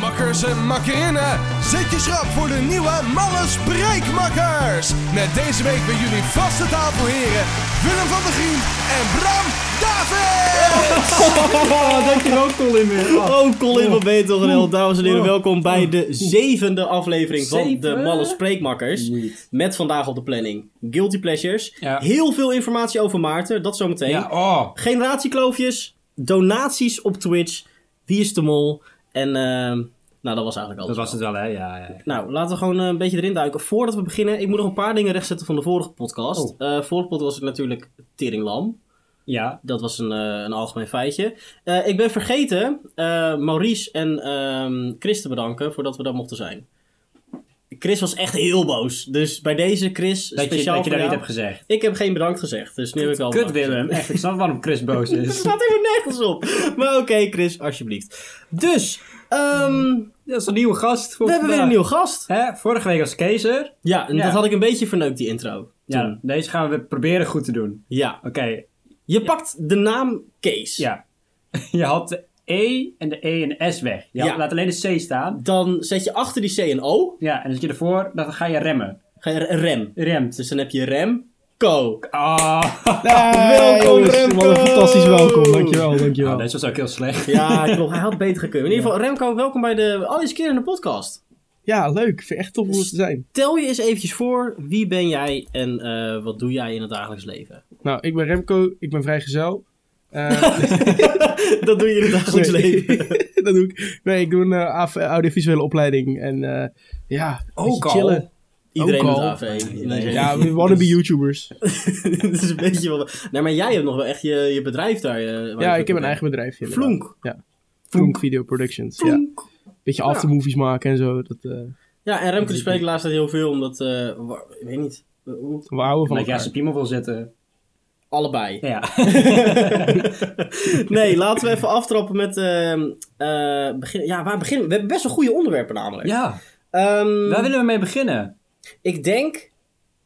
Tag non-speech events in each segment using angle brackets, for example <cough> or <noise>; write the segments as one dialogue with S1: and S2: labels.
S1: Haarlemse Makkerinnen. Zet je schrap voor de nieuwe Malle Spreekmakkers. Met deze week bij jullie vaste tafelheren Willem van der Grien en Bram David.
S2: <laughs> Oh, dankjewel Colin weer. Oh.
S3: Oh, Colin van Betel en dames en heren, welkom bij de zevende aflevering van
S2: Zeven?
S3: de Malle Spreekmakkers. Met vandaag op de planning Guilty Pleasures.
S2: Ja.
S3: Heel veel informatie over Maarten, dat zometeen.
S2: Ja, oh.
S3: Generatiekloofjes, donaties op Twitch, Wie is de Mol en ehm, nou dat was eigenlijk alles.
S2: Dat was het wel, hè? Ja, ja.
S3: Nou, laten we gewoon eh, een beetje erin duiken. Voordat we beginnen, ik moet nog een paar dingen rechtzetten van de vorige
S2: Oh.
S3: podcast. Eh vorige podcast was het natuurlijk Teringlam.
S2: Ja.
S3: Dat was een, eh, een algemeen feitje. Eh, ik ben vergeten eh, Maurice en ehm, Chris te bedanken voordat we daar mochten zijn. Chris was echt heel boos. Dus bij deze Chris
S2: Dat je,
S3: speciaal
S2: dat je
S3: voor
S2: dat niet
S3: jou.
S2: hebt gezegd.
S3: Ik heb geen bedankt gezegd, dus nu heb ik al
S2: Kut
S3: bedankt
S2: Willem, echt. Ik snap waarom Chris boos
S3: <laughs> gezegd.
S2: is.
S3: <laughs> Het staat helemaal nergens op. Maar oké, Chris, alsjeblieft. Dus, ehm,
S2: Dat is een nieuwe gast voor
S3: we hebben weer een nieuwe gast.
S2: Hè? Vorige week was Kezer.
S3: Ja, en
S2: Ja.
S3: dat had ik een beetje verneukt, die intro.
S2: Ja,
S3: Toen.
S2: deze gaan we proberen goed te doen.
S3: Ja.
S2: Oké,
S3: Je pakt de naam Kees.
S2: ja. <laughs> Je had de E en de E en de S weg. Je
S3: Ja.
S2: had- laat alleen de C staan.
S3: Dan zet je achter die C een O.
S2: Ja, en dan zit je ervoor, dan ga je remmen.
S3: Ga je re- rem.
S2: Remt.
S3: Dus dan heb je rem, ko. <laughs>
S2: Ah.
S3: welkom, Remco.
S4: Wat een fantastisch welkom. Dankjewel, dankjewel.
S2: Nou, deze was ook heel slecht.
S3: Ja, klopt. Hij had beter gekund. In ieder geval, Remco, welkom bij de allereerste keer in de podcast.
S4: Ja, leuk. Vind ik echt tof om er te zijn.
S3: Tel je eens eventjes voor, wie ben jij en eh, wat doe jij in het dagelijks leven?
S4: Nou, ik ben Remco. Ik ben vrijgezel. Eh
S3: <laughs> Dat doe je in het dagelijks
S4: Nee.
S3: leven.
S4: <laughs> dat doe ik. Nee, ik doe een eh, AV audiovisuele opleiding. En eh, ja, een
S2: Ook
S4: beetje
S2: al?
S3: <laughs>
S4: chillen.
S3: Iedereen
S4: Ook
S3: met
S4: al.
S3: AV. Nee,
S4: Ja, we wannabe YouTubers.
S3: <laughs> dat is een beetje wat... Nee, maar jij hebt nog wel echt je, je bedrijf daar. eh, waar
S4: Ja,
S3: je
S4: ik heb een
S3: op bent.
S4: eigen bedrijf. inderdaad.
S3: Flonk.
S4: Ja. Flonk Video Productions. Ja.
S3: Flonk.
S4: Beetje aftermovies maken en zo. Dat, eh,
S3: Ja, en
S4: Dus
S3: Remco die spreekt laatst tijd heel veel, omdat... eh, wa- ik weet niet. eh, hoe-
S4: we houden van
S2: Omdat jij
S4: elkaar.
S2: zijn piemel wil zetten.
S3: Allebei.
S2: Ja.
S3: <laughs> nee, laten we even aftrappen met... ehm, eh, begin, ja, waar beginnen we? We hebben best wel goede onderwerpen namelijk.
S2: ja.
S3: Ehm,
S2: Waar willen we mee beginnen?
S3: Ik denk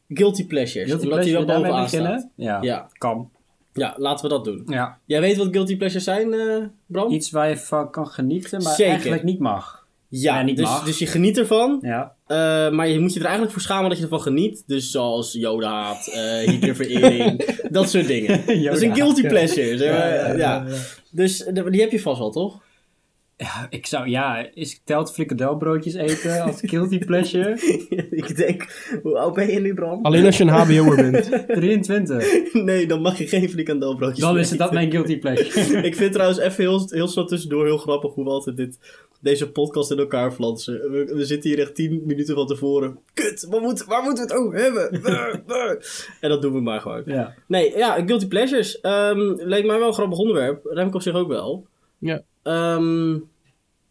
S3: Guilty Pleasures.
S2: Guilty
S3: omdat die
S2: pleasure,
S3: wel
S2: daarmee
S3: bovenaan
S2: beginnen?
S3: staat.
S2: Ja.
S3: Ja.
S2: Kan.
S3: ja, laten we dat doen.
S2: Ja.
S3: Jij weet wat Guilty Pleasures zijn, eh, Bram?
S2: Iets waar je van kan genieten, maar
S3: Zeker.
S2: eigenlijk niet mag.
S3: ja,
S2: nee, niet
S3: dus,
S2: mag.
S3: dus je geniet ervan.
S2: Ja.
S3: eh, maar je moet je er eigenlijk voor schamen dat je ervan geniet. Dus zoals Yoda-haat, eh
S2: <laughs>
S3: Hitlerverering, dat soort dingen. Dat is een guilty pleasure. zeg maar. ja, Dus eh, die heb je vast wel, toch? <laughs>
S2: Ja, ik zou, ja, is telt frikadelbroodjes eten
S3: <laughs>
S2: als guilty pleasure?
S3: ik denk, hoe oud ben je nu, Bram?
S4: Alleen <laughs> als je een HBO'er bent.
S2: 23.
S3: <laughs> Nee, dan mag je geen frikandelbroodjes
S2: Dan
S3: meer
S2: is het dat mijn guilty pleasure.
S3: <laughs> Ik vind trouwens even heel, heel snel tussendoor heel grappig hoe we altijd dit, deze podcast in elkaar flansen. We, we zitten hier echt tien minuten van tevoren. Kut, waar, moet, waar moeten we het over
S2: <laughs>
S3: hebben? Brr, brr. en dat doen we maar gewoon.
S2: Ja.
S3: Nee, ja, Guilty Pleasures. Ehm leek mij wel een grappig onderwerp. Remco op zich ook wel.
S4: Ja.
S3: Ehm,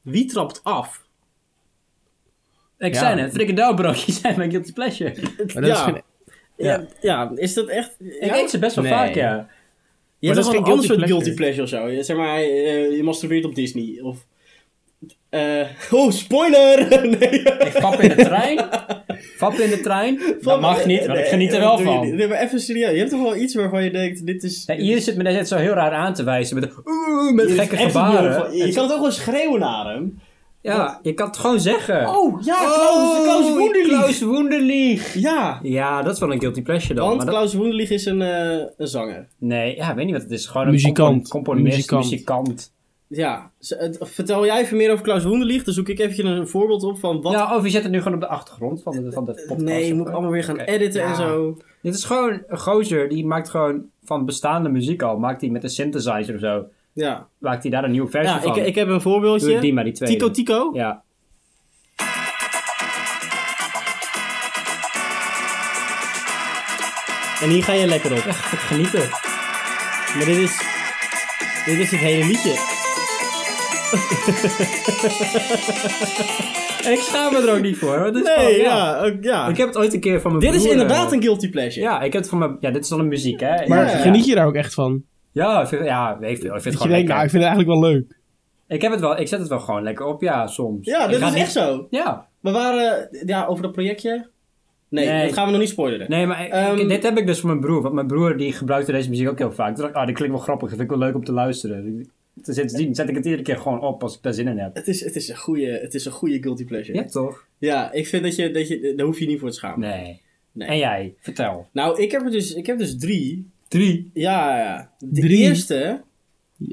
S3: wie trapt af?
S2: Ik
S4: Ja.
S2: zei het, frikandelbroodjes zijn mijn guilty pleasure.
S4: Maar dat
S3: ja.
S4: is geen...
S3: ja. Ja, is dat echt...
S2: Ik eet ze best wel
S4: Nee.
S2: vaak, ja.
S3: Je hebt toch
S4: dat is
S3: een
S4: geen
S3: ander soort
S4: guilty
S3: guilty pleasure of zo. Je- Zeg maar, eh, je masturbeert op Disney. Of... eh, <laughs> oh, spoiler! <laughs> nee.
S2: Ik fap in de trein. Fap in de
S3: <laughs>
S2: trein. Dat mag niet, maar ik geniet er wel
S3: Nee,
S2: van.
S3: doe je niet. Nee, maar even serieus. Je hebt toch wel iets waarvan je denkt, dit is...
S2: Ja, hier zit me net zo heel raar aan te wijzen met een oeh, met
S3: dit is
S2: gekke
S3: echt een
S2: gebaren.
S3: beeld van- Je kan het ook gewoon schreeuwen naar hem.
S2: Ja, je kan het gewoon zeggen.
S3: Oh, ja, Klaus, de Klaus Wunderlich.
S2: Klaus Wunderlich.
S3: Ja,
S2: Ja, dat is wel een guilty pleasure dan.
S3: want
S2: maar dat-
S3: Klaus Wunderlich is een, eh, een zanger.
S2: Nee, ja, ik weet niet wat het is. Gewoon een
S4: Muzikant.
S2: compon- componist, muzikant.
S4: Muzikant.
S3: Ja, z- het- vertel jij even meer over Klaus Wunderlich. Dan zoek ik even een voorbeeld op van wat...
S2: Ja, of Nou, je zet het nu gewoon op de achtergrond van de, van de podcast.
S3: nee, je
S2: of
S3: moet
S2: zo.
S3: allemaal weer gaan
S2: Oké.
S3: editen
S2: Ja.
S3: en zo.
S2: Dit is gewoon een gozer, die maakt gewoon van bestaande muziek al. Maakt hij met een synthesizer of zo.
S3: Ja,
S2: Maakt hij daar een nieuwe versie
S3: ja
S2: van.
S3: ik, ik heb een
S2: Doe die
S3: voorbeeldje.
S2: maar, die tweede.
S3: Tico Tico.
S2: Ja.
S3: En hier ga je lekker op.
S2: Genieten.
S3: Maar dit is. Dit is het hele liedje.
S2: En ik schaam me er ook niet voor. hoor. Dit is gewoon-
S3: ook- Oh, ja.
S2: Ik heb het ooit een keer van mijn
S3: Dit is
S2: broer,
S3: inderdaad
S2: eh,
S3: een guilty pleasure.
S2: Ja, ik heb het van mijn... Ja, dit is dan een muziek, hè.
S4: Maar
S3: Ja.
S4: geniet je daar ook echt van?
S2: Ja, ik vind, ja, ik vind, ik vind het
S4: Dat je
S2: gewoon
S4: denkt,
S2: lekker.
S4: nou, ik vind het eigenlijk wel leuk.
S2: Ik heb het wel, ik zet het wel gewoon lekker op, ja, soms.
S3: Ja,
S2: Ik
S3: dit
S2: ga
S3: is
S2: niet-
S3: echt zo.
S2: Ja.
S3: We waren. Ja, over dat projectje. Nee,
S2: Nee.
S3: dat gaan we nog niet spoileren.
S2: Nee, maar ik-
S3: Ehm,
S2: ik- dit heb ik dus van mijn broer. Want mijn broer die gebruikte deze muziek ook heel vaak. Toen dacht ik, ah, dit klinkt wel grappig. Dat vind ik wel leuk om te luisteren. Sindsdien zet ik het iedere keer gewoon op als ik daar zin in heb.
S3: Het is, het is een goede, het is een goede guilty pleasure.
S2: Ja,
S3: Ja,
S2: toch?
S3: ik vind dat je, dat je, daar hoef je niet voor te schamen.
S2: Nee.
S3: Nee.
S2: En jij, vertel.
S3: Nou, ik heb er dus, ik heb dus drie.
S2: Drie.
S3: Ja, ja. De
S4: Drie.
S3: eerste.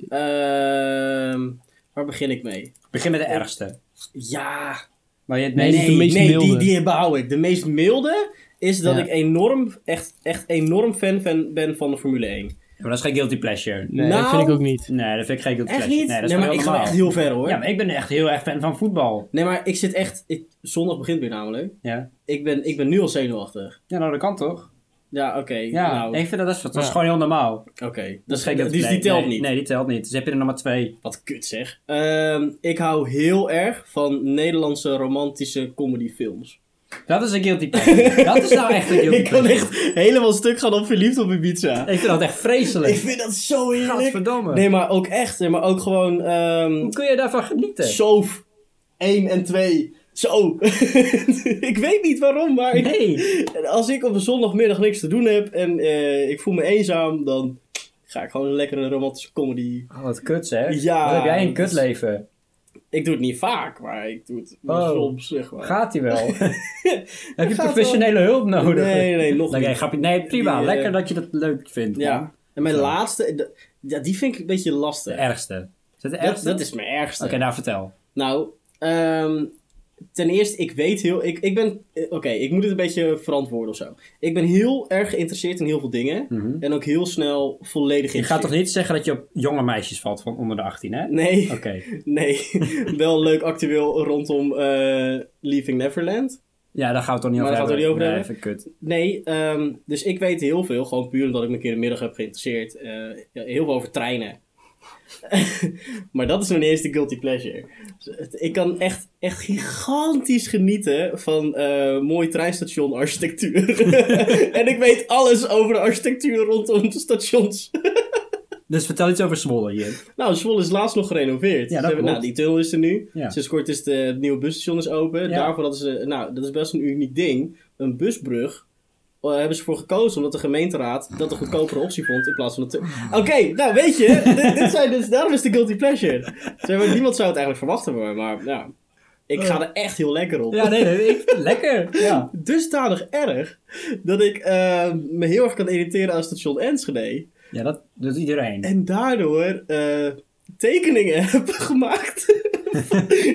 S3: ehm, waar begin ik mee?
S2: Begin met de ergste.
S3: Ja.
S2: Maar je het
S3: Nee,
S2: meest...
S4: de meest
S3: nee die,
S4: milde.
S3: die behoud ik. De meest milde is dat
S2: Ja.
S3: ik enorm, echt, echt enorm fan, fan ben van de Formule 1.
S2: Ja, maar dat is geen guilty pleasure.
S4: Nee, dat
S3: Nou,
S4: vind ik ook niet.
S2: Nee, dat vind ik geen guilty
S3: Echt
S2: pleasure.
S3: niet?
S2: Nee,
S3: Nee,
S2: dat is
S3: maar
S2: wel
S3: ik ga
S2: normaal.
S3: echt heel ver hoor.
S2: Ja, maar ik ben echt heel erg fan van voetbal.
S3: Nee, maar ik zit echt... Ik, zondag begint weer namelijk.
S2: Ja.
S3: Ik ben, ik ben nu al zenuwachtig.
S2: Ja, nou dat kan toch?
S3: Ja, oké.
S2: Ja,
S3: nou,
S2: ik vind dat, dat, is, dat is
S4: Ja.
S2: gewoon heel normaal.
S3: oké.
S2: Dat
S3: Dat
S2: is
S3: is
S2: geen guilty
S3: Dus die
S2: nee,
S3: telt
S2: nee,
S3: niet.
S2: Nee, die telt niet. Dus heb je er nog maar twee.
S3: Wat kut zeg. Ehm, ik hou heel erg van Nederlandse romantische comedyfilms.
S2: Dat is een guilty pleasure. dat is nou echt een guilty
S3: <laughs> Ik kan
S2: pleasure.
S3: echt helemaal stuk gaan op verliefd op Ibiza.
S2: Ik vind dat echt vreselijk.
S3: Ik vind dat zo heerlijk.
S2: Gadverdamme.
S3: Nee, maar ook echt. nee, Maar ook gewoon... ehm
S2: Hoe kun je daarvan genieten?
S3: Sof 1 en 2. Zo. <laughs> ik weet niet waarom, maar ik-
S2: Nee.
S3: als ik op een zondagmiddag niks te doen heb en eh, ik voel me eenzaam, dan ga ik gewoon een lekkere romantische comedy.
S2: Oh, wat kut hè?
S3: Ja.
S2: Wat heb jij een
S3: dat is-
S2: kutleven?
S3: Ik doe het niet vaak, maar ik doe het wel
S2: Oh.
S3: soms, zeg maar.
S2: Gaat die
S3: <laughs>
S2: wel? heb je
S3: wel.
S2: professionele hulp nodig?
S3: Nee, nee, nog
S2: Oké,
S3: niet.
S2: grapje. Nee, prima.
S3: Die, eh,
S2: Lekker dat je dat leuk vindt. man.
S3: Ja. En mijn
S2: Zo.
S3: laatste, d- ja, die vind ik een beetje
S2: De
S3: lastig.
S2: ergste. Is dat de
S3: Dat,
S2: ergste?
S3: dat is mijn ergste.
S2: Oké, nou vertel.
S3: Nou, ehm, ten eerste, ik weet heel. Ik, ik ben. eh, Oké, ik moet het een beetje verantwoorden of zo. Ik ben heel erg geïnteresseerd in heel veel dingen.
S2: Mhm.
S3: En ook heel snel volledig
S2: Je gaat toch
S3: geïnteresseerd.
S2: niet zeggen dat je op jonge meisjes valt van onder de 18, hè?
S3: Nee,
S2: Oké.
S3: <laughs> nee. wel leuk actueel rondom eh, Leaving Neverland.
S2: Ja, daar gaan we het toch niet
S3: Maar
S2: over
S3: daar gaan we
S2: hebben.
S3: het toch niet over
S2: nee,
S3: hebben?
S2: even kut.
S3: Nee, ehm, dus ik weet heel veel, gewoon puur omdat ik me een keer een middag heb geïnteresseerd. eh, ja, heel veel over treinen. <laughs> maar dat is mijn eerste guilty pleasure. Dus het- Ik kan echt, echt gigantisch genieten van eh mooi treinstation architectuur. <laughs> en ik weet alles over de architectuur rondom de stations.
S2: Dus vertel iets over Zwolle hier.
S3: Nou, Zwolle is laatst nog
S2: Ja, dat
S3: gerenoveerd. Ze hebben-
S2: klopt.
S3: nou, die tunnel is er nu.
S2: Ja.
S3: Sinds kort is de, het nieuwe busstation is open.
S2: Ja.
S3: Daarvoor hadden ze, nou, dat is best een uniek ding. Een busbrug eh, hebben ze voor gekozen omdat de gemeenteraad dat een goedkopere optie vond in plaats van de tunnel.
S2: Ah.
S3: Oké, nou weet je, <laughs> dit, dit zijn dus, daarom is de guilty pleasure. Zeg maar, niemand zou het eigenlijk verwachten van me, maar ja. Ik ga er echt heel lekker op.
S2: Eh. Ja, nee, nee. ik-
S3: <laughs>
S2: lekker. Ja.
S3: Dusdanig erg dat ik eh, me heel erg kan irriteren aan station Enschede.
S2: Ja, dat doet iedereen.
S3: En daardoor eh, tekeningen <laughs> heb gemaakt. <laughs>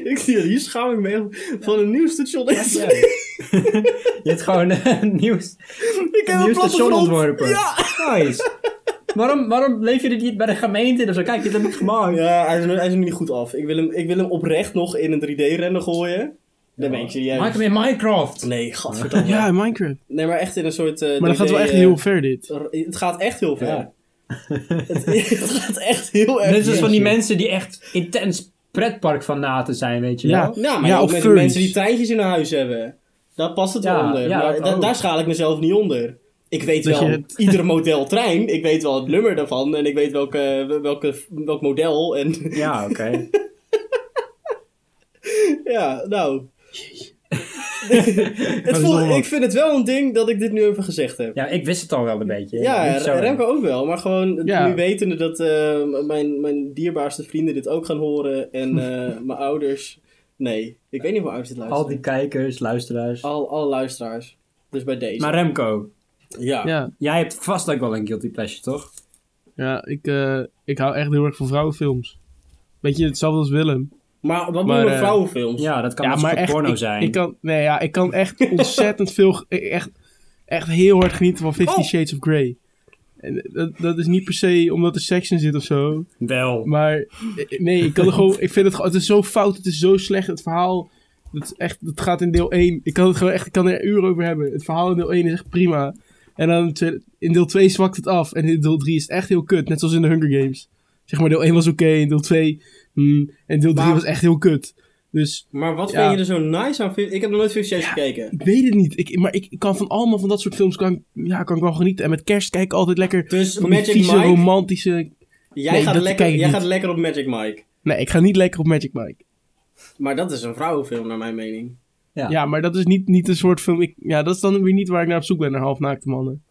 S3: ik zie dat hier schaam ik me echt van een nieuw station. <laughs>
S2: Ja. <laughs> Je hebt gewoon eh, <laughs> nieuws,
S3: ik heb
S2: een
S3: een,
S2: nieuw station
S3: plattegrond.
S2: ontworpen.
S3: Ja.
S2: Nice. Waarom, waarom leef je dit niet bij de gemeente in of zo? Kijk, dit heb ik gemaakt.
S3: Ja, hij is, nog- hij is nog niet goed af. Ik wil hem, ik wil hem oprecht nog in een 3D-renner gooien. Dan ben ik serieus.
S2: Maak hem in Minecraft.
S3: Nee, gadverdamme.
S4: Ja, Minecraft.
S3: Nee, maar echt in een soort... eh,
S4: Maar dat gaat wel
S3: 3D,
S4: echt
S3: eh,
S4: heel ver, dit.
S3: r- Het gaat echt heel ver.
S2: Ja.
S3: het, <laughs> het gaat echt heel erg
S2: Net zoals
S3: ver.
S2: van die mensen die echt intens pretpark van naten zijn, weet je wel.
S4: Ja.
S3: Ja, maar
S4: Ja,
S3: ook
S4: of
S3: met die
S4: furries.
S3: mensen die treintjes in hun huis hebben. Daar past het
S2: Ja,
S3: wel onder.
S2: ja,
S3: maar
S2: dat
S3: da-
S2: ook.
S3: daar schaal ik mezelf niet onder. Ik weet
S4: Dat
S3: wel <laughs>
S4: je het-
S3: ieder model trein. Ik weet wel het nummer daarvan. En ik weet welke, welke, welk model. En <laughs>
S2: Ja, oké.
S3: ja, nou. <laughs> het
S4: is
S3: voelt-
S4: wel wat.
S3: ik vind het wel een ding dat ik dit nu even gezegd heb.
S2: <laughs> Ja, ik wist het al wel een beetje.
S3: Ja,
S2: Niet zo.
S3: Remco ook wel. Maar gewoon
S4: Ja.
S3: nu wetende dat eh, mijn, mijn dierbaarste vrienden dit ook gaan horen.
S4: <laughs>
S3: En eh, mijn ouders. Nee, ik weet niet of mijn ouders dit
S2: Al
S3: luisteren.
S2: die kijkers, luisteraars.
S3: Al, alle luisteraars. Dus bij deze.
S2: Maar Remco,
S3: ja.
S4: Ja,
S2: jij hebt vast ook wel een guilty pleasure, toch?
S4: ja ik, eh, ik hou echt heel erg van vrouwenfilms. Weet je, hetzelfde als Willem.
S3: Maar wat
S4: Maar,
S3: doen we
S4: eh,
S3: vrouwenfilms?
S2: Ja, dat kan
S4: ja,
S2: een
S4: maar
S2: soort
S4: echt,
S2: porno
S4: ik,
S2: zijn.
S4: Ik kan, nee, ja, ik kan <laughs> echt ontzettend veel... ge- Echt, echt heel hard genieten van Fifty
S3: Oh.
S4: Shades of Grey. En eh, dat, dat is niet per se omdat er seks in zit of zo.
S2: Wel.
S4: Maar eh, nee, ik kan er gewoon... Ik vind het gewoon... Het is zo fout, het is zo slecht. Het verhaal... Dat, is echt, dat gaat in deel 1. Ik kan, het gewoon echt, ik kan er uren over hebben. Het verhaal in deel 1 is echt prima. En dan in tweede- in deel 2 zwakt het af. En in deel 3 is het echt heel kut. Net zoals in de Hunger Games. Zeg maar, deel 1 was oké. en deel 2... hmm, en deel 3
S3: Maar-
S4: was echt heel kut. Dus...
S3: Maar wat
S4: Ja.
S3: vind je er zo nice aan? Fif- Ik heb nog nooit Fifty Shades gekeken.
S4: Ik weet het niet. Ik, maar ik ik kan van allemaal van dat soort films kan, ja, kan ik wel genieten. En met kerst kijk ik altijd lekker
S3: Dus
S4: van die
S3: Magic
S4: vieze,
S3: Mike,
S4: romantische...
S3: jij,
S4: Nee,
S3: gaat,
S4: dat
S3: lekker,
S4: kijk ik
S3: jij
S4: niet.
S3: gaat lekker op Magic Mike.
S4: Nee, ik ga niet lekker op Magic Mike.
S3: Maar dat is een vrouwenfilm naar mijn mening.
S2: Ja.
S4: Ja, maar Dus dat is niet, niet een soort film... Ik, ja, dat is dan weer niet waar ik naar op zoek ben, naar halfnaakte mannen.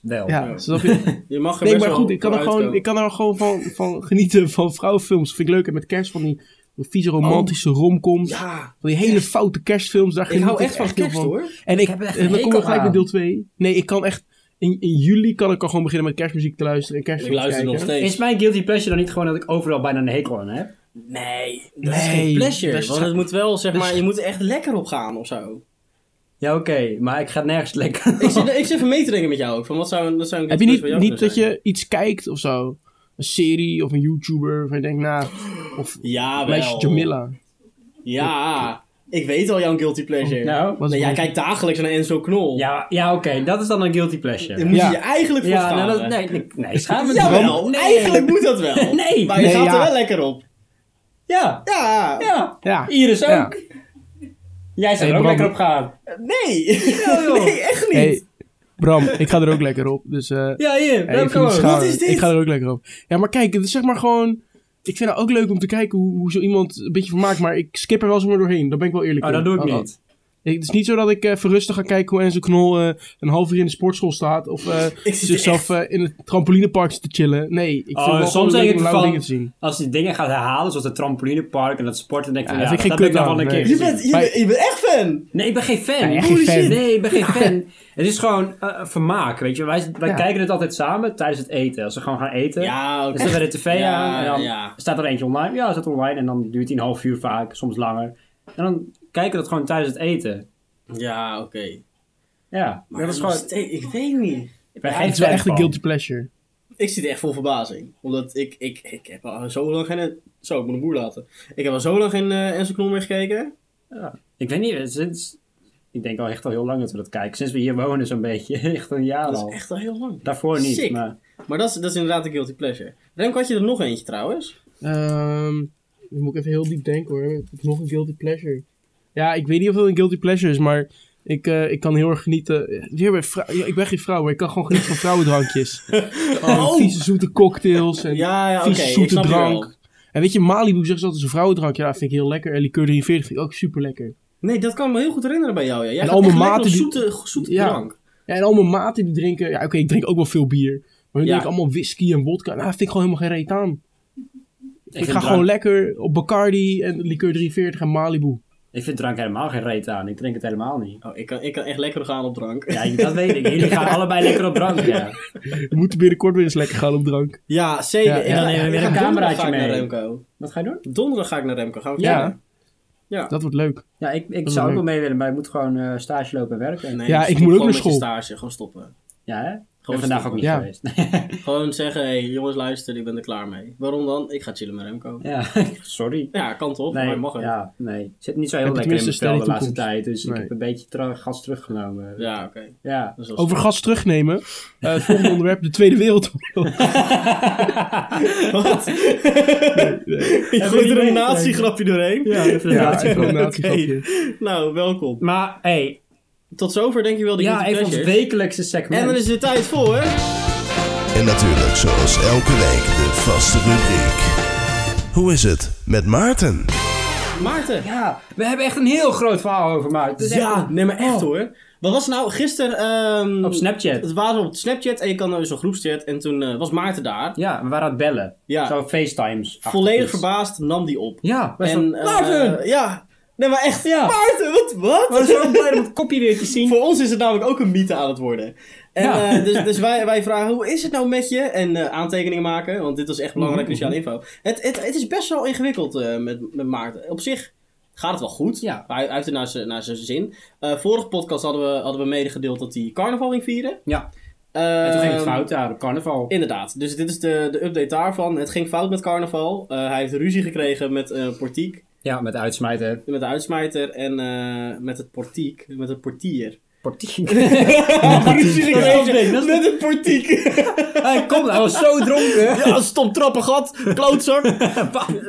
S2: Wel.
S4: Ja, snap
S3: <laughs>
S4: je?
S3: Je mag er
S4: Nee,
S3: best
S4: maar
S3: wel
S4: goed, ik kan er
S3: voor
S4: gewoon,
S3: uitkomen.
S4: ik kan er gewoon van, van genieten van vrouwenfilms. Vind ik leuk. En met kerst van die vieze romantische romcoms.
S3: Ja,
S4: Van die hele foute kerstfilms. Daar
S3: ik
S4: geniet
S3: hou echt van
S4: heel
S3: kerst hoor.
S4: En ik, eh,
S2: Ik heb er echt
S4: en dan
S2: een
S4: kom ik
S2: hekel
S4: gelijk
S2: aan.
S4: met deel 2. Nee, ik kan echt... In, in juli kan ik al gewoon beginnen met kerstmuziek te luisteren en
S3: Ik
S4: kerstfilms
S3: luister nog
S4: kijken.
S3: steeds.
S2: Is mijn guilty pleasure dan niet gewoon dat ik overal bijna een hekel aan heb?
S3: Nee, dat is
S4: Nee,
S3: geen pleasure.
S4: dat is
S3: want
S4: scha-
S3: het moet wel, zeg
S4: dat is-
S3: maar, je moet er echt lekker op gaan of zo.
S2: Ja, oké, maar ik ga nergens lekker.
S3: Ik zit, ik zit even mee te denken met jou ook. Van wat zou, dat zou een
S4: Heb je
S3: voor
S4: niet,
S3: jou
S4: niet
S3: kunnen
S4: dat
S3: zijn?
S4: je iets kijkt of zo? Een serie of een YouTuber waarvan je denkt, nou... Of
S3: Ja,
S4: meisje
S3: wel.
S4: Jamila.
S3: Ja, ik weet al jouw guilty pleasure.
S2: nou?
S4: Wat is
S3: nee, jij
S4: mijn-
S3: kijkt dagelijks naar Enzo
S2: <laughs>
S3: Knol.
S2: Ja, ja oké, dat is dan een guilty
S3: Daar
S2: pleasure.
S3: moet
S4: Ja.
S3: je je eigenlijk voor
S2: Ja,
S3: schamen.
S2: nou, dat, nee, nee, nee, schaam me niet.
S3: Jawel,
S2: Nee.
S3: eigenlijk moet dat <laughs> wel.
S2: Nee.
S3: Maar je
S4: Nee,
S3: gaat
S4: ja.
S3: er wel lekker op.
S2: Ja,
S3: Ja.
S2: ja,
S4: Ja.
S2: Iris ook.
S4: Ja.
S2: Jij zou
S4: Hey,
S2: er ook
S4: Bram.
S2: lekker op gaan.
S3: Nee.
S2: joh.
S3: <laughs> nee, echt niet.
S4: Hey, Bram, ik ga er ook lekker op. Dus eh
S2: Ja, hier,
S4: hey, ik
S2: welkom.
S4: vind het
S3: Wat
S4: schaam.
S3: is dit?
S4: Ik ga er ook lekker op. Ja, maar kijk, het is zeg maar gewoon... Ik vind het ook leuk om te kijken hoe, hoe zo iemand een beetje vermaakt. Maar ik skip er wel zomaar doorheen. Daar ben ik wel eerlijk
S2: oh,
S4: in.
S2: dat doe ik
S4: Oh, oh.
S2: niet.
S4: Ik- Het is niet zo dat ik eh, even rustig ga kijken hoe Enzo Knol eh, een half uur in de sportschool staat.
S2: <laughs>
S4: Of eh,
S3: zit
S4: zichzelf eh, in het trampolinepark zit te chillen. Nee, ik vind
S2: Oh,
S4: het wel
S2: soms
S4: gewoon
S2: denk
S4: leuk
S2: ik
S4: om leuke
S2: van-
S4: dingen te zien.
S2: Als die dingen gaat herhalen, zoals het trampolinepark en dat sporten, denk ik
S4: Ja,
S2: van ja,
S4: dat
S2: dat
S4: vind ik
S2: heb
S4: geen
S2: ik nog wel een
S4: kut
S2: keer
S4: aan,
S3: Je
S2: gezien.
S3: bent, je,
S4: Maar-
S3: bent- je bent echt fan.
S2: Nee, ik ben geen fan.
S4: Nee, echt geen
S2: Holy shit.
S4: fan.
S2: Nee, ik ben geen fan. Het is gewoon eh, vermaak, weet je. Wij, wij
S4: Ja.
S2: kijken het altijd samen tijdens het eten. Als we gewoon gaan eten,
S3: Ja,
S2: dan zetten we de tv
S3: Ja,
S2: aan en dan
S3: ja.
S2: staat er eentje online. Ja, staat online en dan duurt die een half uur vaak, soms langer. En dan kijken we dat gewoon tijdens het eten.
S3: Ja, oké.
S2: Ja,
S3: Maar
S2: dat is gewoon...
S3: Ik weet niet.
S2: Ik ben
S4: Ja,
S2: geen
S4: het is wel
S2: fan
S4: echt een
S2: van.
S4: guilty pleasure.
S3: Ik zit echt vol verbazing. Omdat ik, ik, ik heb al zo lang geen... Zo, ik moet een boer laten. Ik heb al zo lang geen eh Enzo Knol meer gekeken.
S2: Ik weet niet, eh, sinds... Ik denk al echt al heel lang dat we dat kijken. Sinds we hier wonen zo'n beetje. <laughs> Echt een jaar
S3: Dat is
S2: al.
S3: echt al heel lang.
S2: Daarvoor niet,
S3: sick.
S2: maar...
S3: Maar dat is, dat is inderdaad een guilty pleasure. Remco, had je er nog eentje trouwens?
S4: Ehm, dan moet ik even heel diep denken hoor. Ik heb nog een guilty pleasure. Ja, ik weet niet of dat een guilty pleasure is, maar ik, eh, ik kan heel erg genieten. Weer bij vrou- ja, ik ben geen vrouw, maar ik kan gewoon genieten van
S3: <laughs>
S4: vrouwendrankjes.
S3: Oh.
S4: Oh. Vieze zoete cocktails en
S3: Ja, ja oké.
S4: vieze
S3: ik
S4: zoete
S3: snap je wel.
S4: drank. En weet je, Malibu zegt altijd is een vrouwendrank. Ja, dat vind ik heel lekker. En Liqueur 43 vind ik ook super lekker.
S3: Nee, dat kan ik me heel goed herinneren bij jou. Ja. Jij
S4: En
S3: gaat
S4: al mijn
S3: echt lekker
S4: maten
S3: op
S4: die-
S3: zoete, zoete
S4: Ja.
S3: drank.
S4: Ja, en al mijn maten die drinken... Ja, oké, ik drink ook wel veel bier. Maar die
S3: Ja.
S4: drinken allemaal whisky en vodka. Nou, dat vind ik gewoon helemaal geen reet aan. Ik,
S2: vind
S4: ga
S2: drank-
S4: gewoon lekker op Bacardi en Liqueur 43 en Malibu.
S2: Ik vind drank helemaal geen reet aan. Ik drink het helemaal niet.
S3: Oh, ik kan, ik kan echt lekker gaan op drank.
S2: Ja, ik- dat weet ik. Jullie
S3: <laughs>
S2: gaan allebei lekker op drank, ja.
S4: We moeten binnenkort weer eens lekker gaan op drank.
S3: Ja, zeker.
S4: Ja,
S3: Ik
S4: en
S2: dan
S3: ga-
S2: nemen we
S3: ik
S2: weer
S3: ga
S2: een
S3: donderdag
S2: cameraatje
S3: ga ik naar
S2: mee.
S3: Remco.
S2: Wat ga je doen?
S3: Donderdag ga ik naar Remco. Gaan we
S4: Ja.
S3: kijken? Ja.
S4: Dat wordt leuk.
S2: Ja, ik, ik
S4: is
S2: zou ook
S4: leuk.
S2: wel mee willen, maar ik moet gewoon eh, stage lopen en werken.
S3: Nee,
S4: Ja, ik
S3: stop
S4: moet ook
S3: gewoon
S4: naar
S3: met je
S4: school.
S3: stage. Gewoon stoppen.
S2: Ja, hè? Ik ben
S3: Gewoon
S2: vandaag ook
S3: stoppen.
S2: niet
S4: Ja.
S2: geweest. <laughs>
S3: Gewoon zeggen, hé hey, jongens luister, ik ben er klaar mee. Waarom dan? Ik ga chillen met Remco.
S2: ja, sorry.
S3: Ja, kan toch?
S2: Nee,
S3: maar mag het. Ja,
S2: ja, nee. Ik zit niet zo heel
S4: Heb je
S2: lekker in mijn
S4: tenminste
S2: spel de
S4: sterke
S2: laatste
S4: toekomst?
S2: tijd, dus ik
S4: Nee.
S2: heb een beetje tra- gas teruggenomen. Ja.
S3: oké. Dat is wel
S4: <laughs> Over gas terugnemen. Eh, het <laughs> volgende onderwerp, de Tweede Wereldoorlog.
S3: Wat? Je gooit er een natiegrapje doorheen.
S2: Ja, even
S4: <laughs> ja,
S2: een
S4: even een
S2: ja,
S4: natiegrapje.
S3: <laughs> Nou, welkom.
S2: Maar, hé, hey,
S3: Tot zover denk ik wel de
S2: ja,
S3: guilty
S2: even ons
S3: pleasures.
S2: wekelijkse segment.
S3: En dan is het tijd voor...
S1: En natuurlijk, zoals elke week, de vaste rubriek. Hoe is het met Maarten?
S3: Maarten.
S2: Ja, we hebben echt een heel groot verhaal over Maarten. Het is echt
S3: Ja,
S2: een-
S3: nee, maar echt
S2: Oh.
S3: hoor. Wat was nou gisteren... ehm,
S2: Op Snapchat.
S3: Het waren we op Snapchat en je kan naar zo'n groepschat. En toen eh, was Maarten daar.
S2: Ja, we waren aan het bellen.
S3: Ja.
S2: Zo FaceTimes.
S3: Volledig verbaasd nam die op.
S2: Ja, wij
S3: En,
S2: en,
S3: eh,
S2: Maarten!
S3: ja. Nee, maar echt.
S2: Ja.
S3: Maarten, wat?
S2: We waren
S3: wat?
S2: zo blij
S3: <laughs>
S2: om het kopje weer te zien.
S3: Voor ons is het namelijk ook een mythe aan het worden. En,
S2: Ja.
S3: eh,
S2: <laughs>
S3: dus dus wij, wij vragen, hoe is het nou met je? En eh, aantekeningen maken, want dit was echt belangrijke
S2: Mhm.
S3: cruciale info. Het, het, het is best wel ingewikkeld eh, met, met Maarten. Op zich gaat het wel goed.
S2: Ja.
S3: Hij, hij heeft het naar zijn- naar zijn zin. Eh, vorige podcast hadden we, hadden we medegedeeld dat hij carnaval ging vieren.
S2: Ja,
S3: Eh,
S2: en toen ging het fout daar op carnaval.
S3: Inderdaad, dus dit is de, de update daarvan. Het ging fout met carnaval. Eh, hij heeft ruzie gekregen met eh Portiek.
S2: Ja, met uitsmijten.
S3: Met de uitsmijter en eh, met het portiek. Met het
S2: <laughs>
S3: portier.
S2: Portier.
S3: met het portiek.
S2: Hij komt, hij was zo dronken.
S3: ja, stom trappengat. <laughs> Klootzak.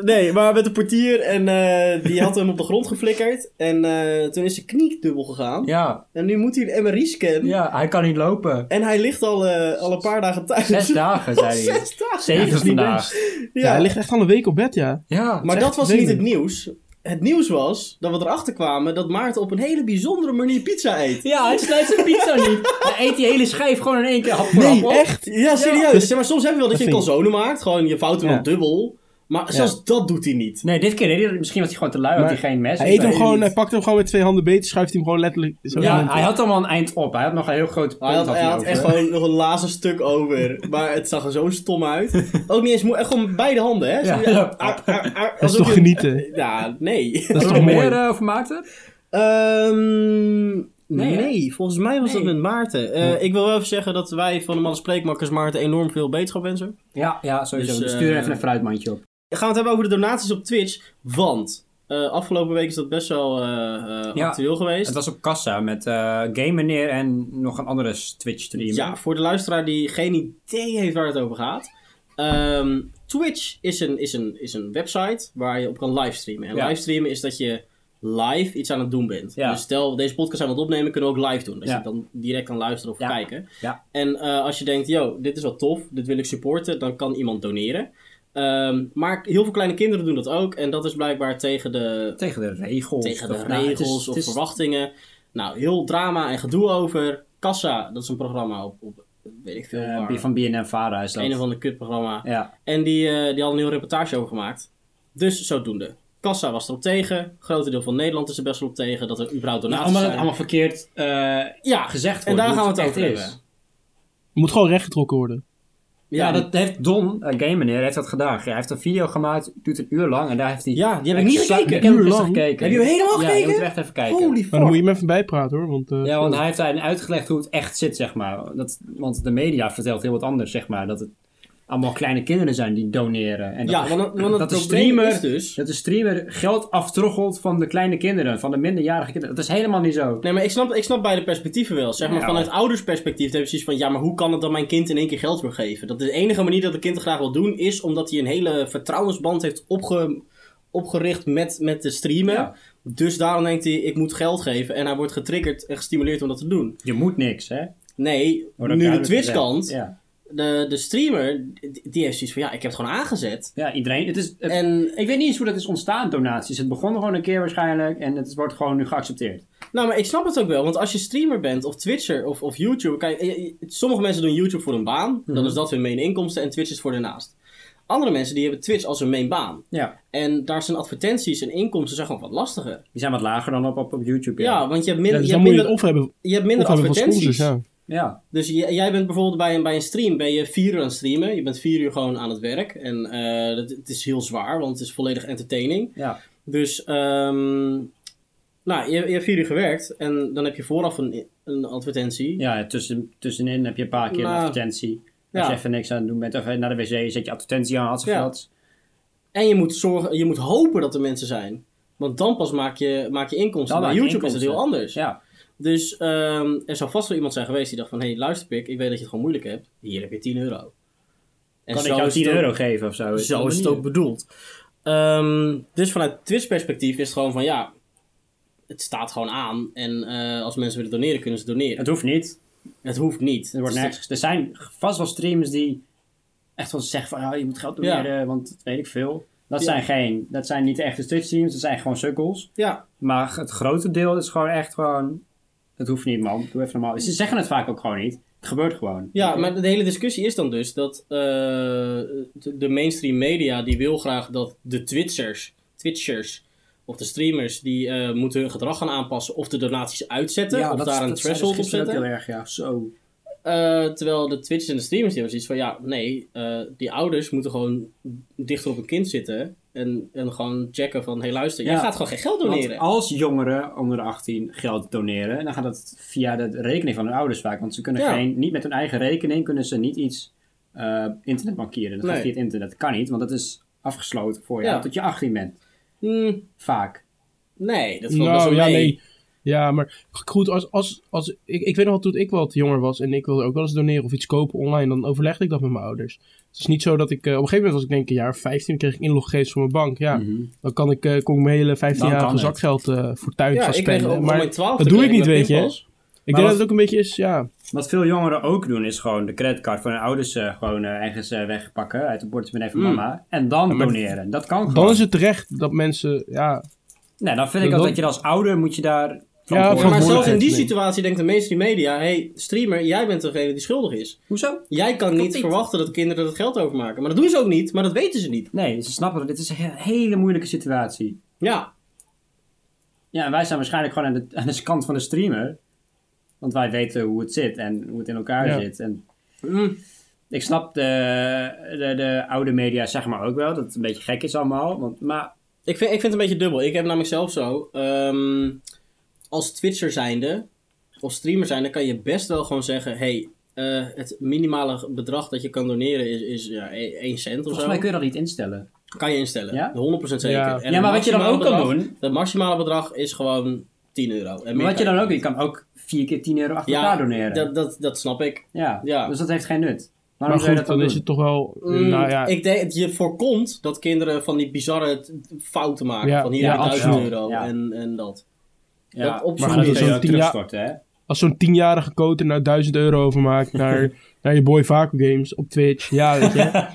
S3: nee, maar met de portier. En eh, die had hem op de grond geflikkerd. En eh, toen is zijn knie dubbel gegaan.
S2: Ja,
S3: En nu moet hij een MRI-scan.
S2: ja, hij kan niet lopen.
S3: En hij ligt al, eh, al een paar dagen thuis.
S2: Zes
S3: <laughs>
S2: dagen, zei hij.
S3: Zes dagen.
S2: Zeven
S4: niet
S2: vandaag.
S4: Ja, hij ligt echt al een week op bed, ja.
S2: Ja,
S3: Maar
S2: het is
S3: dat was
S2: echt
S3: niet het
S2: vervelend.
S3: nieuws. het nieuws was, dat we erachter kwamen, dat Maarten op een hele bijzondere manier pizza eet.
S2: Ja, hij snijdt zijn pizza niet. Hij eet die hele schijf gewoon in één keer hap voor hap op.
S3: echt? Ja, serieus. Zeg maar soms heb je wel dat je een
S4: Dat vind
S3: calzone maakt, gewoon je fouten
S2: Ja.
S3: wel dubbel. Maar zelfs dat doet hij niet.
S2: Nee, dit keer deed hij dat- Misschien was hij gewoon te lui, had hij
S4: Maar
S2: geen mes.
S4: Hij
S2: Ik
S4: eet hem
S2: weet
S4: gewoon,
S2: het
S4: hij
S2: niet.
S4: pakt hem gewoon met twee handen beet, schuift hij hem gewoon letterlijk zo
S2: Ja,
S4: in.
S2: hij had allemaal een eind op. Hij had nog een heel groot punt.
S3: Hij had,
S2: had
S3: hij
S2: hij
S3: had
S2: over.
S3: echt gewoon nog een laatste stuk over. Maar het zag er zo stom uit. Ook niet eens moe, echt gewoon beide handen, hè? Zo,
S2: Ja.
S3: ar- ar- ar-
S4: Dat is
S3: alsof
S4: toch
S3: je-
S4: genieten?
S3: Ja, nee. <laughs>
S4: Dat is
S2: Nog
S4: toch mooi?
S2: meer eh, over Maarten?
S3: Ehm,
S2: Nee,
S3: nee,
S2: hè?
S3: volgens mij was dat
S2: Nee.
S3: met Maarten. Eh, Ik wil wel even zeggen dat wij van de Mannen Spreekmakers Maarten enorm veel beterschap wensen.
S2: Ja, ja sowieso.
S3: Dus, eh,
S2: Stuur even een fruitmandje op.
S3: Gaan we het hebben over de donaties op Twitch. Want eh, afgelopen week is dat best wel eh, eh,
S2: Ja,
S3: actueel geweest.
S2: Het was op kassa met eh Game Meneer en nog een andere Twitch streamer.
S3: Ja, voor de luisteraar die geen idee heeft waar het over gaat. Ehm, Twitch is een, is, een, is een website waar je op kan livestreamen. En
S2: Ja.
S3: livestreamen is dat je live iets aan het doen bent.
S2: Ja.
S3: Dus stel, deze podcast aan het opnemen, kunnen we ook live doen. Dat
S2: Ja.
S3: je dan direct kan luisteren of
S2: Ja.
S3: kijken.
S2: Ja.
S3: En eh, als je denkt, yo, dit is wel tof, dit wil ik supporten, dan kan iemand doneren. Ehm, maar heel veel kleine kinderen doen dat ook. En dat is blijkbaar tegen de,
S2: Tegen de regels.
S3: tegen de
S2: Of- nou, het is-
S3: regels of
S2: het is-
S3: verwachtingen. Nou, heel drama en gedoe over. Kassa, dat is een programma op, op weet ik veel
S2: eh,
S3: waar.
S2: die van BNN Vara is dat.
S3: Een of ander kutprogramma.
S2: Ja,
S3: En die, eh, die hadden een heel reportage over gemaakt. Dus zodoende. Kassa was erop tegen. Grote deel van Nederland is er best wel op tegen. Dat er überhaupt
S2: nou,
S3: donaties
S2: omdat het
S3: zijn.
S2: allemaal verkeerd eh,
S3: ja,
S2: gezegd wordt.
S3: en daar
S2: hoe
S3: gaan we het
S2: echt
S3: over
S2: is.
S3: hebben.
S4: Het moet gewoon rechtgetrokken worden.
S2: Ja,
S3: Ja,
S2: dat heeft Don, eh Game Meneer, heeft dat gedaan. Hij heeft een video gemaakt, duurt een uur lang en daar heeft hij...
S3: Ja, die heb ik niet
S2: Exact-
S3: gekeken.
S2: Ik heb hem
S4: Uur
S2: gisteren
S4: lang?
S2: gekeken.
S3: Heb je hem helemaal
S2: Ja, je
S3: gekeken?
S2: moet er echt even kijken.
S3: Holy
S4: Maar dan moet
S3: fuck.
S4: je hem even bijpraten hoor. Want, eh,
S2: ja, want hij heeft daarin uitgelegd hoe het echt zit, zeg maar. Dat, want de media vertelt heel wat anders, zeg maar. Dat het allemaal kleine kinderen zijn die doneren. En dat,
S3: Ja, want, want
S2: dat
S3: het
S2: de
S3: probleem
S2: streamer,
S3: is dus...
S2: dat de streamer geld aftroggelt van de kleine kinderen, van de minderjarige kinderen. Dat is helemaal niet zo.
S3: Nee, maar ik snap, ik snap beide perspectieven wel. Zeg maar,
S2: Ja.
S3: vanuit oudersperspectief heb je precies van... Ja, maar hoe kan het dat mijn kind in één keer geld wil geven? Dat de enige manier dat het kind het graag wil doen... is omdat hij een hele vertrouwensband heeft opge, opgericht met, met de streamen.
S2: Ja.
S3: Dus daarom denkt hij, ik moet geld geven. En hij wordt getriggerd en gestimuleerd om dat te doen.
S2: Je moet niks, hè?
S3: Nee,
S2: Oh, dat
S3: nu de
S2: duidelijk
S3: Twitch
S2: gezegd.
S3: kant...
S2: Ja.
S3: De, de streamer, die- die heeft zoiets van... Ja, ik heb het gewoon aangezet.
S2: ja, iedereen. Het is, het-
S3: En
S2: ik weet niet eens hoe dat is ontstaan, donaties. Het begon gewoon een keer waarschijnlijk en het wordt gewoon nu geaccepteerd.
S3: Nou, maar ik snap het ook wel. Want als je streamer bent, of Twitcher, of, of YouTuber... Kijk, eh, eh, sommige mensen doen YouTube voor hun baan.
S4: Mhm.
S3: Dan is dat hun main inkomsten. En Twitch is voor daarnaast. Andere mensen die hebben Twitch als hun main baan.
S2: Ja.
S3: En daar zijn advertenties en inkomsten zijn gewoon wat lastiger.
S2: Die zijn wat lager dan op, op, op YouTube.
S3: Ja, want je hebt,
S4: ja,
S3: minder,
S4: dus
S3: je hebt,
S4: dan moet je het
S3: minder,
S4: of hebben,
S3: je hebt
S4: of
S3: minder
S4: hebben van
S3: advertenties.
S4: sponsors. Ja.
S2: ja.
S3: Dus j- jij bent bijvoorbeeld bij een, bij een stream, ben je vier uur aan het streamen. Je bent vier uur gewoon aan het werk. En eh, dat, het is heel zwaar, want het is volledig entertaining.
S2: ja.
S3: Dus, ehm, nou, je, je hebt vier uur gewerkt en dan heb je vooraf een, een advertentie.
S2: Ja, ja, tussen, tussenin heb je een paar keer een
S3: Nou,
S2: advertentie. Als
S3: ja.
S2: je even niks aan het doen bent, of eh, naar de wc, zet je advertentie aan, had ze
S3: Ja.
S2: gehad.
S3: En je moet, zorgen, je moet hopen dat er mensen zijn. Want dan pas maak je, maak je inkomsten.
S2: Dan
S3: Bij
S2: maak je
S3: YouTube is
S2: inkomsten.
S3: het heel anders.
S2: Ja,
S3: Dus ehm, er zou vast wel iemand zijn geweest die dacht van... Hé, hey, luister pik, ik weet dat je het gewoon moeilijk hebt. Hier heb je 10 euro. En
S2: kan ik
S3: zo
S2: jou
S3: is het
S2: 10
S3: ook-
S2: euro geven of zo?
S3: Zo is het ook bedoeld. Ehm, dus vanuit Twitch perspectief is het gewoon van... Ja, het staat gewoon aan. En eh, als mensen willen doneren, kunnen ze doneren.
S2: Het hoeft niet.
S3: Het hoeft niet.
S2: Er, wordt
S3: Het is-
S2: nergens, er zijn vast wel streamers die echt wel zeggen van, ja, je moet geld doneren, want dat weet ik veel. Dat,
S3: Ja.
S2: zijn geen, dat zijn niet de echte Twitch streams, dat zijn gewoon sukkels.
S3: Ja,
S2: Maar het grote deel is gewoon echt gewoon, het hoeft niet man, doe even normaal. Ze zeggen het vaak ook gewoon niet, het gebeurt gewoon.
S3: Ja, maar de hele discussie is dan dus dat eh, de- de mainstream media die wil graag dat de Twitchers, Twitchers of de streamers, die eh, moeten hun gedrag gaan aanpassen of de donaties uitzetten of
S2: dat-
S3: daar een
S2: dat zeiden ze
S3: threshold op
S2: gisteren ook
S3: zetten.
S2: heel erg, ja, zo.
S3: Eh, terwijl de Twitchers en de streamers die hebben zoiets van ja, nee, eh, die ouders moeten gewoon dichter op een kind zitten en, en gewoon checken van hé hey, luister, jij
S2: Ja.
S3: gaat gewoon geen geld
S2: Want
S3: doneren.
S2: als jongeren onder de 18 geld doneren, dan gaat dat via de rekening van hun ouders vaak. Want ze kunnen
S3: Ja.
S2: geen, niet met hun eigen rekening kunnen ze niet iets eh internet bankieren. Dat
S3: Nee.
S2: gaat via het internet. Dat kan niet, want dat is afgesloten voor je
S3: Ja.
S2: tot je 18 bent.
S3: Hmm,
S2: Vaak.
S3: nee, dat valt best
S4: Nou
S3: wel
S4: ja,
S3: mee.
S4: nee. Ja, maar goed, als, als, als, ik, ik weet nog wel toen ik wat jonger was en ik wilde ook wel eens doneren of iets kopen online, dan overlegde ik dat met mijn ouders. Het is niet zo dat ik, eh, op een gegeven moment was ik denk ik een jaar of 15, kreeg ik inloggegevens van mijn bank. Ja, dan kan ik, eh, kon ik mijn hele
S2: Dan kan
S4: 15-jarige
S2: het.
S4: zakgeld eh fortuin
S3: Ja,
S4: gaan
S3: ik kreeg ook
S4: spenden.
S3: op
S4: Maar
S3: mijn
S4: dat
S3: 12e
S4: doe ik
S3: kreeg
S4: niet,
S3: mijn
S4: weet je.
S3: pinpas.
S4: Ik
S2: Maar
S4: denk dat
S2: wat-
S4: het ook een beetje is, ja.
S2: Wat veel jongeren ook doen, is gewoon de creditcard van hun ouders eh, gewoon eh, ergens eh,
S3: Hmm.
S2: wegpakken uit de portemonnee van mama. En dan doneren. Dat kan gewoon.
S4: Dan is het terecht dat mensen, ja,
S2: Nee, dan vind ik dat,
S4: Dat-
S2: dat je als ouder moet je daar...
S4: Ja,
S2: verantwoordelijk
S3: maar zelfs in
S4: verantwoordelijkheid
S3: die
S4: nemen.
S3: situatie denkt de mainstream media... hey, streamer, jij bent degene die schuldig is.
S2: Hoezo?
S3: Jij kan niet
S2: niet.
S3: verwachten dat kinderen dat geld overmaken. Maar dat doen ze ook niet, maar dat weten ze niet.
S2: Nee, ze snappen dat dit is een he- hele moeilijke situatie.
S3: Ja,
S2: Ja, en wij zijn waarschijnlijk gewoon aan de, aan de kant van de streamer. Want wij weten hoe het zit en hoe het in elkaar
S4: Ja.
S2: zit. En hm,
S3: Mm.
S2: ik snap de, de, de oude media zeg maar ook wel, dat het een beetje gek is allemaal. Want, maar
S3: ik vind, ik vind het een beetje dubbel. Ik heb namelijk zelf zo... ehm, als Twitcher zijnde, of streamer zijnde... kan je best wel gewoon zeggen... hey, eh, het minimale bedrag dat je kan doneren is, is ja, 1 cent of
S2: volgens
S3: zo.
S2: mij kun je dat niet instellen.
S3: Kan je instellen.
S2: Ja?
S3: 100% zeker.
S4: Ja.
S3: En
S2: Ja, maar
S3: het
S2: wat je dan
S3: maximale
S2: ook kan
S3: bedrag-
S2: doen-
S3: Het maximale bedrag is gewoon 10 euro. En meer
S2: Maar wat je
S3: kan
S2: dan ook, je kan ook vier keer 10 euro achter
S3: Ja,
S2: elkaar doneren.
S3: dat, dat, dat snap ik.
S2: ja.
S3: ja.
S2: dus dat heeft geen nut. Waarom
S4: Maar
S2: zou je dat
S4: goed,
S2: dan,
S4: dan
S2: doen?
S4: is het toch wel...
S3: Mm,
S4: nou ja,
S3: Ik denk dat je voorkomt dat kinderen van die bizarre t- fouten maken.
S4: Ja,
S3: van hier
S4: ja,
S3: heb je 1000
S2: absoluut.
S3: euro
S2: Ja.
S3: en, en dat.
S2: Ja.
S3: Dat op
S4: Maar
S3: zo'n manier.
S4: goed, dat is
S2: kun je
S4: zo'n
S2: ook
S4: tien jaar-
S2: terugstorten, hè?
S4: Als zo'n tienjarige koter nou 1000 euro overmaakt
S3: <laughs>
S4: naar, naar je boy Vaco Games op Twitch. Ja, weet je.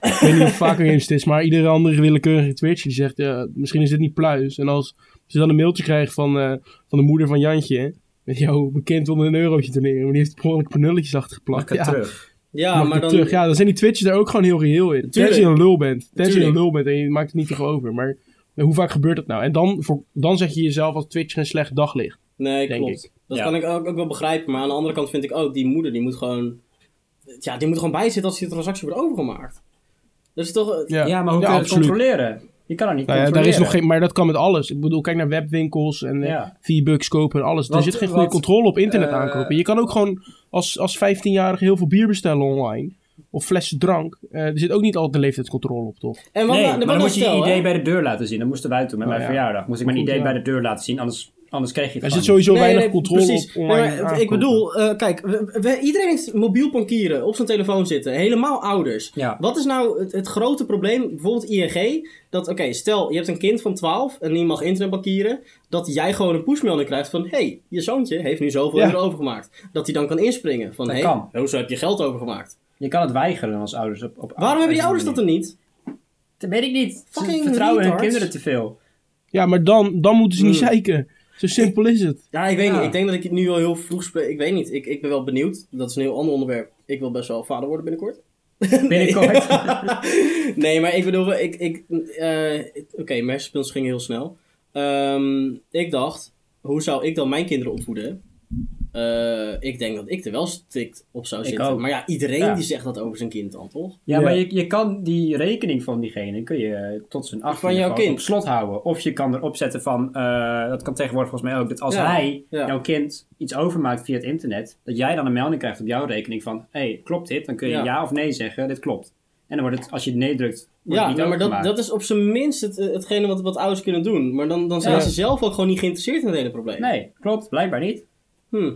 S4: ik weet niet of Vaco Games het is, maar iedere andere willekeurige Twitch die zegt, ja, misschien is dit niet pluis. En als ze dan een mailtje krijgen van, eh, van de moeder van Jantje, met jou bekend wil een eurotje doneren, maar die heeft per ongeluk een paar nulletjes achtergeplakt.
S2: Kan
S4: Ja,
S2: terug.
S3: Ja,
S4: mag
S3: maar
S4: het
S3: dan...
S4: terug. Ja, dan zijn die Twitches daar ook gewoon heel reëel in.
S3: Tuurlijk.
S4: Tenzij je een lul bent. Tenzij je een
S3: Tuurlijk.
S4: lul bent en je maakt het niet tegen over. Maar eh, hoe vaak gebeurt dat nou? En dan, voor, dan zeg je jezelf als Twitch een slecht daglicht.
S3: Nee,
S4: Denk
S3: klopt.
S4: ik.
S3: Dat
S2: Ja.
S3: kan ik ook, ook wel begrijpen. Maar aan de andere kant vind ik ook, die moeder die moet gewoon... Ja, die moet gewoon bijzitten als die transactie wordt overgemaakt. Dat is toch...
S2: Ja, maar hoe kun je het
S4: absoluut.
S2: controleren? Je kan het niet
S4: Nou ja, daar
S2: controleren.
S4: is nog geen, maar dat kan met alles. Ik bedoel, kijk naar webwinkels en eh,
S2: Ja.
S4: V-Bucks kopen en alles. er
S2: Wat-
S4: zit geen goede
S2: wat,
S4: controle op internet
S2: eh,
S4: aankopen. Je kan ook gewoon als, als 15-jarige heel veel bier bestellen online. Of flessen drank. Eh, er zit ook niet altijd een leeftijdscontrole op, toch?
S3: En wat,
S2: Nee,
S3: nou-
S2: maar
S3: wat
S2: dan
S3: nou
S2: moet je je
S3: stel,
S2: idee
S3: hè?
S2: bij de deur laten zien. Dat moesten wij toen met
S4: Nou
S2: mijn
S4: ja.
S2: verjaardag. Moest ik mijn
S4: Goed,
S2: idee
S4: ja.
S2: bij de deur laten zien, anders, anders kreeg je het
S4: Er
S2: gewoon
S4: zit sowieso
S3: Nee,
S4: weinig
S3: nee,
S4: controle
S3: precies.
S4: op online
S3: Nee, maar ik
S4: aankopen.
S3: bedoel, eh, kijk, we- we- iedereen heeft mobiel bankieren op zijn telefoon zitten. Helemaal ouders.
S2: Ja.
S3: Wat is nou het, het grote probleem? Bijvoorbeeld ING. Dat, oké, stel je hebt een kind van 12 en die mag internetbankieren. Dat jij gewoon een pushmelding krijgt van... hey, je zoontje heeft nu zoveel
S4: Ja.
S3: euro overgemaakt. Dat hij dan kan inspringen. Van,
S2: Dat
S3: hey,
S2: kan.
S3: hoezo heb je geld overgemaakt?
S2: Je kan het weigeren als ouders. Op, op
S3: Waarom hebben die ouders dat dan niet?
S2: Dat weet ik niet.
S3: Fucking
S2: Ze vertrouwen hun
S3: retards.
S2: kinderen te
S3: <laughs>
S2: veel.
S4: Ja, maar dan, dan moeten ze
S3: Hmm.
S4: niet zeiken. Zo simpel is het.
S3: Ja, ik weet
S2: Ja.
S3: niet. Ik denk dat ik het nu al heel vroeg spreek. Ik weet niet. Ik, ik ben wel benieuwd. Dat is een heel ander onderwerp. Ik wil best wel vader worden binnenkort.
S2: Binnenkort.
S3: <laughs> nee, maar ik bedoel, ik, ik, eh, oké, mijn hersenspinsels gingen heel snel. Ehm, ik dacht, hoe zou ik dan mijn kinderen opvoeden? Eh, ik denk dat ik er wel strikt op zou
S2: Ik
S3: zitten.
S2: ook.
S3: Maar ja, iedereen
S2: Ja.
S3: die zegt dat over zijn kind dan, toch?
S2: Ja,
S4: Ja.
S2: maar je, je kan die rekening van diegene kun je eh, tot zijn acht
S3: Van jouw kind.
S2: op slot houden. Of je kan erop zetten van, eh, dat kan tegenwoordig volgens mij ook, dat als
S3: Ja,
S2: hij
S3: ja.
S2: jouw kind iets overmaakt via het internet, dat jij dan een melding krijgt op jouw rekening van, hé, hey, klopt dit? Dan kun je
S3: Ja.
S2: ja. of nee zeggen, dit klopt. En dan wordt het, als je nee drukt, wordt
S3: Ja,
S2: het niet
S3: nou, maar dat,
S2: overgemaakt.
S3: dat is op zijn minst het, eh, hetgene wat, wat ouders kunnen doen. Maar dan, dan zijn
S2: Ja.
S3: ze zelf ook gewoon niet geïnteresseerd in het hele probleem.
S2: Nee, klopt, blijkbaar niet.
S3: Hm.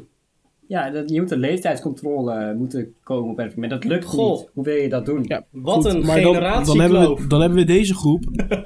S2: Ja, dat, je moet een leeftijdscontrole moeten komen op een moment. Dat lukt
S3: Goh.
S2: niet. Hoe wil je dat doen?
S4: Ja,
S3: Wat
S4: Goed,
S3: een
S4: maar dan, dan, hebben
S3: generatiekloof.
S4: we, dan hebben we deze
S3: <laughs>
S4: groep. en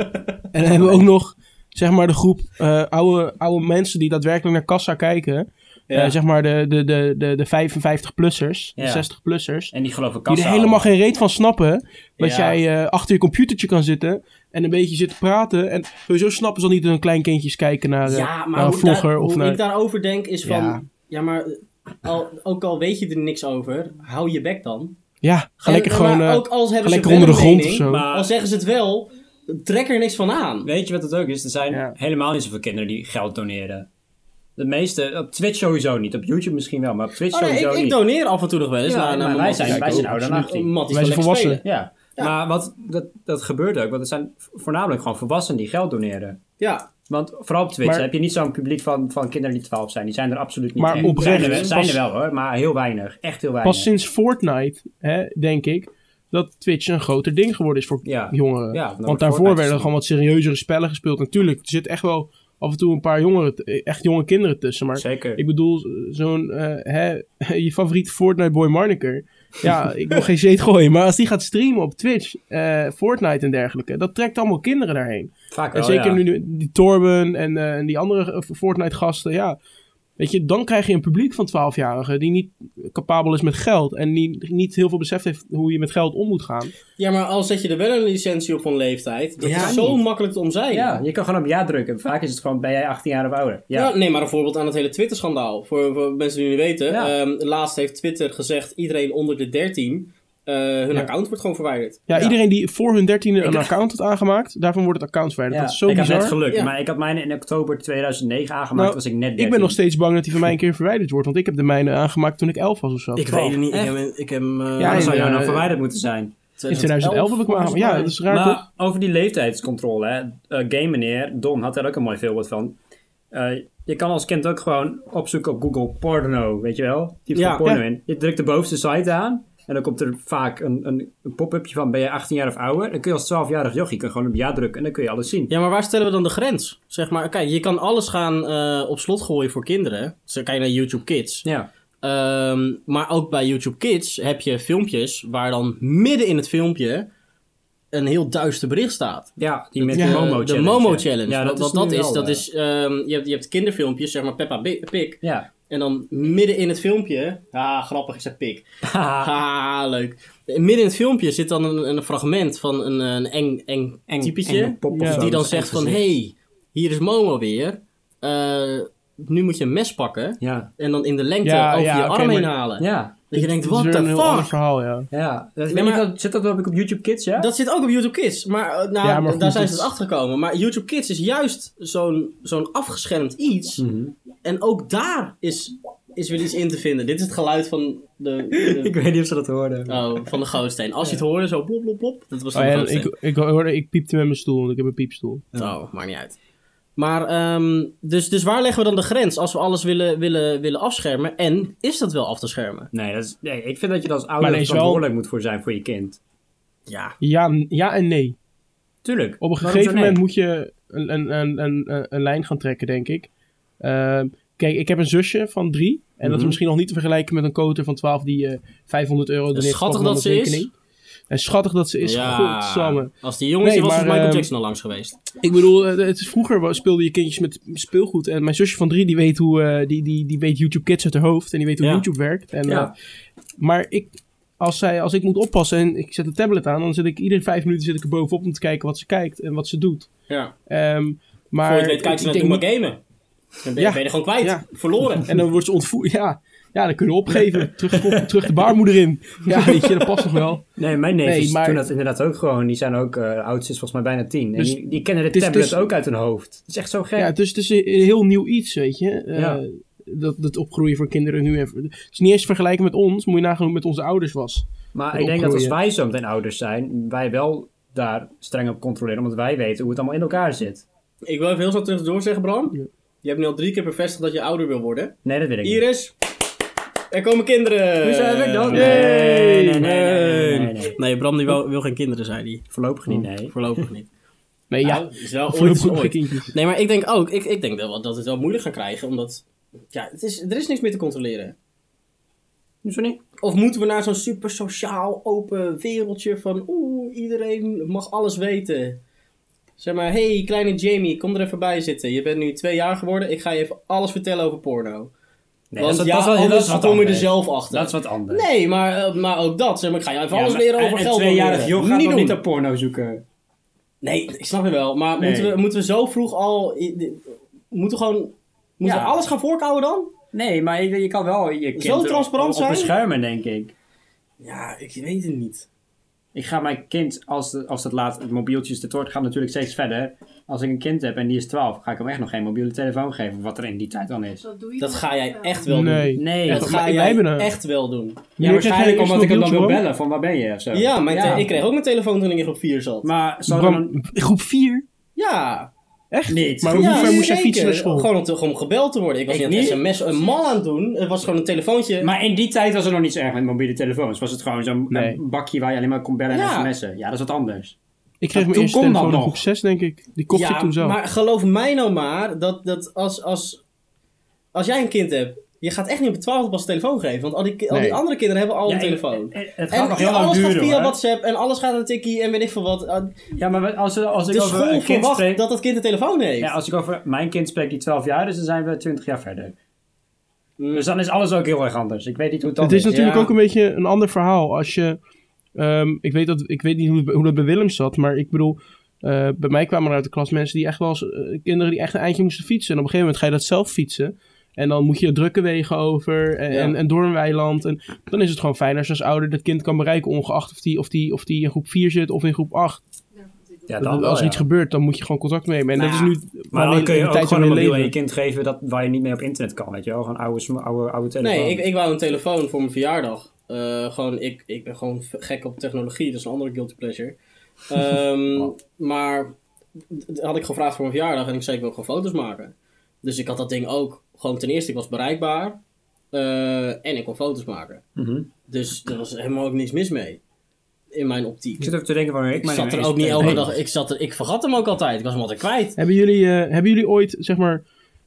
S4: dan hebben we ook nog, zeg maar, de groep eh, oude, oude mensen die daadwerkelijk naar kassa kijken.
S3: Ja.
S4: Eh, zeg maar de, de, de, de, de 55-plussers,
S2: Ja.
S4: de 60-plussers.
S2: En die geloven
S4: Die
S2: kassa.
S4: er helemaal geen reet van snappen.
S3: Ja.
S4: Dat jij eh, achter je computertje kan zitten en een beetje zit te praten. En sowieso snappen ze al niet dat hun kleinkindjes kijken naar, eh,
S3: Ja, maar
S4: naar een
S3: hoe,
S4: vlogger
S3: daar,
S4: of
S3: hoe
S4: naar...
S3: ik daarover denk is van...
S4: Ja.
S3: Ja, maar eh, al, ook al weet je er niks over, hou je bek dan.
S4: Ja, ga
S3: En-
S4: lekker
S3: maar
S4: gewoon eh,
S3: ook als
S4: ga
S3: hebben ze
S4: lekker
S3: wel
S4: onder de
S3: een
S4: grond of
S3: mening,
S4: zo.
S2: maar-
S3: Al zeggen ze het wel, trek er niks van aan.
S2: Weet je wat het ook is? Er zijn
S4: Ja.
S2: helemaal niet zoveel kinderen die geld doneren. De meeste, op Twitch sowieso niet. Op YouTube misschien wel, maar op Twitch
S3: Oh, nee,
S2: sowieso
S3: ik, ik
S2: niet.
S3: doneer af en toe nog wel eens.
S2: Ja,
S3: naar,
S2: maar
S3: naar mijn
S2: wij
S3: matties.
S2: zijn-
S3: Ja,
S2: wij
S3: ik
S2: zijn
S3: ook.
S2: ouder dan 18.
S3: Matties
S4: Wij
S3: van
S4: zijn
S3: Lekker
S4: volwassenen.
S3: Spelen.
S2: Ja.
S3: Ja.
S2: maar wat, dat, dat gebeurt ook. Want het zijn voornamelijk gewoon volwassenen die geld doneren.
S3: Ja,
S2: Want vooral op Twitch
S4: Maar-
S2: heb je niet zo'n publiek van, van kinderen die 12 zijn. Die zijn er absoluut niet.
S4: Maar
S2: echt.
S4: oprecht,
S2: Zijn er,
S4: pas-
S2: zijn er wel hoor, maar heel weinig. Echt heel weinig.
S4: Pas sinds Fortnite, hè, denk ik, dat Twitch een groter ding geworden is voor
S2: Ja.
S4: jongeren.
S2: Ja, dan
S4: Want
S2: wordt
S4: daarvoor
S2: Fortnite
S4: werden er
S2: gezien.
S4: gewoon wat serieuzere spellen gespeeld. Natuurlijk, er zitten echt wel af en toe een paar jongeren, t- eh, echt jonge kinderen tussen. Maar
S2: Zeker.
S4: ik bedoel, zo'n, eh, hè, <laughs> je favoriete Fortnite boy Marniker. Ja, <laughs> ik wil geen shit gooien, maar als die gaat streamen op Twitch, eh, Fortnite en dergelijke, dat trekt allemaal kinderen daarheen.
S2: Vaak
S4: En
S2: wel,
S4: zeker
S2: Oh, ja.
S4: nu die Torben en, eh, en die andere eh, Fortnite-gasten, ja. Weet je, dan krijg je een publiek van 12-jarigen die niet capabel is met geld. En die niet heel veel besef heeft hoe je met geld om moet gaan.
S3: Ja, maar al zet je er wel een licentie op van leeftijd, dat
S2: Ja,
S3: is zo
S2: niet.
S3: makkelijk te omzeilen.
S2: Ja, je kan gewoon op ja drukken. Vaak is het gewoon, ben jij 18 jaar of ouder? Ja.
S3: Ja. neem maar een voorbeeld aan het hele Twitter-schandaal. Voor, voor mensen die het niet weten.
S2: Ja.
S3: ehm, laatst heeft Twitter gezegd, iedereen onder de 13, eh, hun
S4: Ja.
S3: account wordt gewoon verwijderd.
S4: Ja,
S2: Ja.
S4: iedereen die voor hun dertiende
S2: Ik
S4: een
S2: heb-
S4: account had aangemaakt, daarvan wordt het account verwijderd.
S2: Ja,
S4: Dat is zo
S2: ik heb
S4: bizar.
S2: net geluk,
S3: Ja.
S2: maar ik had mijn in oktober 2009 aangemaakt,
S4: Nou,
S2: was ik net 13.
S4: Ik ben nog steeds bang dat die van mij een keer verwijderd wordt. Want ik heb de mijne aangemaakt toen ik 11 was of zo.
S5: Ik
S4: Twaalf.
S5: weet het niet. Ik
S2: Echt?
S5: heb, hem- ik heb hem, eh,
S4: Ja,
S2: Dan zou
S4: in,
S2: jou nou
S4: eh,
S2: verwijderd moeten zijn.
S4: In 2011 nou heb ik maar aangemaakt. Ja, dat is raar toch?
S2: Maar over die leeftijdscontrole, hè. Eh, game meneer, Don had daar ook een mooi voorbeeld van. Eh, je kan als kind ook gewoon opzoeken op Google porno, weet je wel? Typ
S5: Ja.
S2: van porno
S4: Ja.
S2: in. Je drukt de bovenste site aan en dan komt er vaak een, een, een pop-upje van ben je 18 jaar of ouder? Dan kun je als 12-jarig jochie kun je gewoon op ja drukken en dan kun je alles zien.
S3: Ja, maar waar stellen we dan de grens? Zeg maar, kijk, je kan alles gaan eh, op slot gooien voor kinderen. Zo kan je naar YouTube Kids.
S2: Ja,
S3: Ehm, maar ook bij YouTube Kids heb je filmpjes waar dan midden in het filmpje een heel duister bericht staat. Eh,
S2: ja die met
S4: Ja,
S2: de Momo Challenge.
S3: de Momo
S2: ja.
S3: Challenge.
S2: Ja,
S3: dat,
S2: dat,
S3: dat,
S2: is,
S3: dat
S2: nu
S3: is,
S2: wel,
S3: dat
S2: eh,
S3: is ehm, je, hebt, je hebt kinderfilmpjes, zeg maar Peppa Bi- Pig.
S4: <laughs>
S2: Ja.
S3: En dan midden in het filmpje. Ah, grappig is dat pik.
S2: Haha.
S3: Ah, leuk. Midden in het filmpje zit dan een, een fragment van een, een eng, eng,
S2: Eng-
S3: typetje.
S2: enge pop of
S4: Ja.
S2: zo,
S3: die dan
S2: dat is
S3: zegt
S2: echt
S3: van,
S2: gezicht.
S3: hey, hier is Momo weer. Eh, nu moet je een mes pakken.
S2: Ja,
S3: En dan in de lengte
S4: Ja,
S3: over
S4: ja,
S3: je
S4: oké,
S3: arm heen
S4: maar-
S3: halen.
S2: ja,
S3: Dat je denkt,
S4: Dat is
S3: what
S4: weer
S3: the
S4: een heel ander
S3: fuck?
S4: verhaal, ja.
S2: ja. Dat,
S3: Nee,
S2: weet
S3: maar-
S2: ik wel, zit dat ook op YouTube Kids, ja?
S3: Dat zit ook op YouTube Kids. Maar eh, nou,
S4: Ja, maar goed,
S3: daar zijn ze
S4: het-
S3: dus achter gekomen. Maar YouTube Kids is juist zo'n zo'n afgeschermd iets.
S4: Mhm.
S3: En ook daar is, is weer iets in te vinden. Dit is het geluid van de, de-
S2: <laughs>
S4: <laughs>
S2: Ik weet niet of ze dat hoorden.
S3: oh, van de gootsteen. Als je het hoorde, zo plop, plop, plop. Dat was
S4: Oh
S3: dan
S4: ja,
S3: de gootsteen.
S4: ik, ik, hoorde, ik piepte met mijn stoel, want ik heb een piepstoel.
S3: Oh, maakt niet uit. Maar, ehm, dus, dus waar leggen we dan de grens als we alles willen, willen, willen afschermen? En is dat wel af te schermen?
S2: Nee, dat is, nee, ik vind dat je daar als
S4: Maar
S2: ouder
S4: er is wel-
S2: verantwoordelijk moet voor zijn voor je kind.
S3: Ja.
S4: Ja, n- ja en nee.
S2: Tuurlijk.
S4: Op een
S2: Waarom
S4: gegeven
S2: zou nee?
S4: moment moet je een, een, een, een, een- een lijn gaan trekken, denk ik. Ehm, kijk, ik heb een zusje van drie. En dat is
S2: Mhm.
S4: misschien nog niet te vergelijken met een koter van 12 die eh, 500 euro erin heeft
S3: Schattig
S4: gestopt
S3: dat ze
S4: op een
S3: is.
S4: rekening. En schattig dat ze is. Godsamme.
S3: Als die jongens,
S4: Nee,
S3: die was
S4: maar,
S3: dus Michael
S4: ehm,
S3: Jackson al langs geweest.
S4: Ik bedoel, eh, het is, vroeger wa- speelde je kindjes met speelgoed. En mijn zusje van drie, die weet, hoe, eh, die, die, die weet YouTube Kids uit haar hoofd. En die weet hoe
S3: Ja.
S4: YouTube werkt. En,
S2: Ja.
S4: eh, maar ik, als, zij, als ik moet oppassen en ik zet de tablet aan... dan zit ik iedere vijf minuten zit ik er bovenop om te kijken wat ze kijkt en wat ze doet.
S3: Ja.
S4: Ehm, maar
S3: Voor je het weet, kijk
S4: ik
S3: ze naar
S4: denk
S3: Doe
S4: niet-
S3: maar gamen. Dan ben je,
S4: Ja.
S3: ben je er gewoon kwijt.
S4: Ja.
S3: Verloren.
S4: <laughs> En dan wordt ze ontvoerd. Ja, ja dan kunnen we opgeven.
S3: <laughs>
S4: Terug, terug de baarmoeder in. Ja, weet je, dat past nog wel.
S2: Nee, mijn neefjes
S4: Nee, maar-
S2: doen dat inderdaad ook gewoon. Die zijn ook, eh oudste is volgens mij bijna tien.
S4: Dus
S2: en die, die kennen de
S4: het is-
S2: tablet
S4: het is-
S2: ook uit hun hoofd. Dat is echt zo gek.
S4: Ja, het is, het is een een heel nieuw iets, weet je. Eh,
S2: Ja.
S4: dat, dat opgroeien voor kinderen nu. en- Het is niet eens te vergelijken met ons. Moet je nagaan hoe het met onze ouders was.
S2: maar
S4: het
S2: ik denk dat als
S4: opgroeien.
S2: wij zo meteen ouders zijn, wij wel daar streng op controleren. Omdat wij weten hoe het allemaal in elkaar zit.
S3: Ik wil even heel snel tussendoor zeggen, Bram.
S4: Ja.
S3: Je hebt nu al drie keer bevestigd dat je ouder wil worden.
S2: Nee, dat weet ik niet.
S3: Iris, er komen kinderen.
S2: Hoe zijn we dan?
S3: Nee,
S2: Nee, nee, nee,
S3: nee, nee.
S2: nee,
S3: Nee,
S2: nee, nee.
S3: Bram die wil, wil geen kinderen, zei hij.
S2: Voorlopig niet, nee.
S3: Voorlopig niet.
S4: Nee, ja.
S3: Nou, is wel ooit,
S4: voorlopig
S3: is
S4: nog geen
S3: ooit.
S4: kindjes.
S3: Nee, maar ik denk ook, ik, ik denk wel dat we het wel moeilijk gaan krijgen, omdat ja, het is, er is niks meer te controleren.
S2: Hoezo niet?
S3: Of moeten we naar zo'n super sociaal open wereldje van oeh, iedereen mag alles weten. Zeg maar, hey kleine Jamie, kom er even bij zitten. Je bent nu twee jaar geworden, ik ga je even alles vertellen over porno.
S2: Nee,
S3: Want
S2: dat is,
S3: ja,
S2: dat is wel heel
S3: anders
S2: dat is wat
S3: kom je er
S2: anders.
S3: zelf achter.
S2: Dat is wat anders.
S3: Nee, maar, eh, maar ook dat. Zeg maar, ik ga je even
S2: Ja,
S3: alles
S2: maar-
S3: leren
S2: en-
S3: over
S2: en
S3: geld.
S2: tweejarig joh gaat
S3: Niet
S2: nog
S3: doen.
S2: niet naar porno zoeken.
S3: Nee, ik snap je wel. Maar
S2: Nee.
S3: moeten, we, moeten we zo vroeg al... i- di- Moeten we gewoon... Moeten
S2: Ja.
S3: we alles gaan voorkomen dan?
S2: Nee, maar je, je kan wel je kind erop-
S3: transparant
S2: op,
S3: zijn?
S2: beschermen, denk ik.
S3: Ja, ik weet het niet.
S2: Ik ga mijn kind, als, de- als dat laat, het mobieltjes, de toort gaat natuurlijk steeds verder. Als ik een kind heb en die is 12, ga ik hem echt nog geen mobiele telefoon geven, wat er in die tijd dan is.
S6: Dat doe je
S3: Dat
S6: toch
S3: ga
S6: niet
S3: jij
S6: wel?
S3: echt wel doen.
S4: Nee.
S2: Nee,
S3: Dat
S4: toch,
S3: ga
S4: maar wij
S3: jij
S4: hebben een-
S3: echt wel
S2: ja,
S3: doen.
S4: Wanneer krijg jij
S2: waarschijnlijk
S4: eerst
S2: omdat ik hem dan wil
S4: mobieltje, Bram?
S2: bellen, van waar ben je of zo.
S3: Ja, mijn te- ik kreeg ook mijn telefoon toen ik in groep 4 zat.
S2: Maar zou er
S4: Bram,
S2: dan
S4: groep 4?
S3: ja.
S4: Echt?
S2: niet?
S4: Maar hoe
S3: ja,
S4: ver moest jij
S3: zeker.
S4: fietsen naar school?
S3: Gewoon om, te- om gebeld te worden. Ik was
S2: Ik
S3: niet aan het
S2: niet.
S3: sms een mal aan het doen. Het was gewoon een telefoontje.
S2: Maar in die tijd was er nog niet zo erg met mobiele telefoons. Was het gewoon zo'n
S4: Nee.
S2: eh, bakje waar je alleen maar kon bellen en
S3: Ja.
S2: sms'en. Ja, dat is wat anders.
S4: Ik kreeg
S2: Toen
S4: mijn eerste
S2: kon dat
S4: telefoon in
S2: nog.
S4: groep 6, denk ik. Die kocht ik toen zelf.
S3: maar geloof mij nou maar dat, dat als, als, als jij een kind hebt, je gaat echt niet op het twaalfde pas een telefoon geven. Want al die, ki- al die
S4: Nee.
S3: andere kinderen hebben al
S2: Ja,
S3: een
S2: ik-
S3: telefoon.
S2: eh, Het gaat
S3: En,
S2: nog
S3: en
S2: heel lang
S3: alles
S2: duren
S3: gaat via
S2: hoor.
S3: WhatsApp en alles gaat naar Tikkie en weet ik veel wat. Uh,
S2: Ja, maar als, als ik
S3: De
S2: over een
S3: school
S2: kind
S3: verwacht
S2: spreek...
S3: dat dat kind een telefoon heeft.
S2: Ja, als ik over mijn kind spreek die 12 jaar is, dan zijn we 20 jaar verder. Dus dan is alles ook heel erg anders. Ik weet niet hoe het dan
S4: het is natuurlijk
S3: ja.
S4: ook een beetje een ander verhaal. Als je, ehm, ik, weet dat, ik weet niet hoe, het- hoe dat bij Willem zat, maar ik bedoel, eh, bij mij kwamen er uit de klas mensen die echt wel eens, eh, kinderen die echt een eindje moesten fietsen. En op een gegeven moment ga je dat zelf fietsen. En dan moet je drukke wegen over en,
S3: Ja.
S4: en, en door een weiland. En dan is het gewoon fijn als je als ouder dat kind kan bereiken, ongeacht of die, of die, of die in groep 4 zit of in groep 8.
S2: Ja,
S4: Dat-
S2: dan wel,
S4: als er
S2: ja.
S4: iets gebeurt, dan moet je gewoon contact nemen. En
S2: Nou
S4: dat
S2: ja,
S4: is nu
S2: Maar dan kun je ook gewoon een
S4: in
S2: mobiel aan je kind geven dat, waar je niet mee op internet kan, weet je wel. Gewoon oude, sm- oude, oude telefoon.
S3: Nee, ik, ik wou een telefoon voor mijn verjaardag. Eh, gewoon, ik, ik ben gewoon v- gek op technologie, dat is een andere guilty pleasure. Ehm, Maar d- d- had ik gevraagd voor mijn verjaardag en ik zei ik wil gewoon foto's maken. Dus ik had dat ding ook. Gewoon ten eerste, ik was bereikbaar eh, en ik kon foto's maken.
S2: Mhm.
S3: Dus er was helemaal ook niks mis mee. In mijn optiek.
S2: Ik zit even te denken van... Ik,
S3: Ik zat er ook niet elke dag. Ik, zat er, ik vergat hem ook altijd. Ik was hem altijd kwijt.
S4: Hebben jullie, eh, hebben jullie ooit, zeg maar...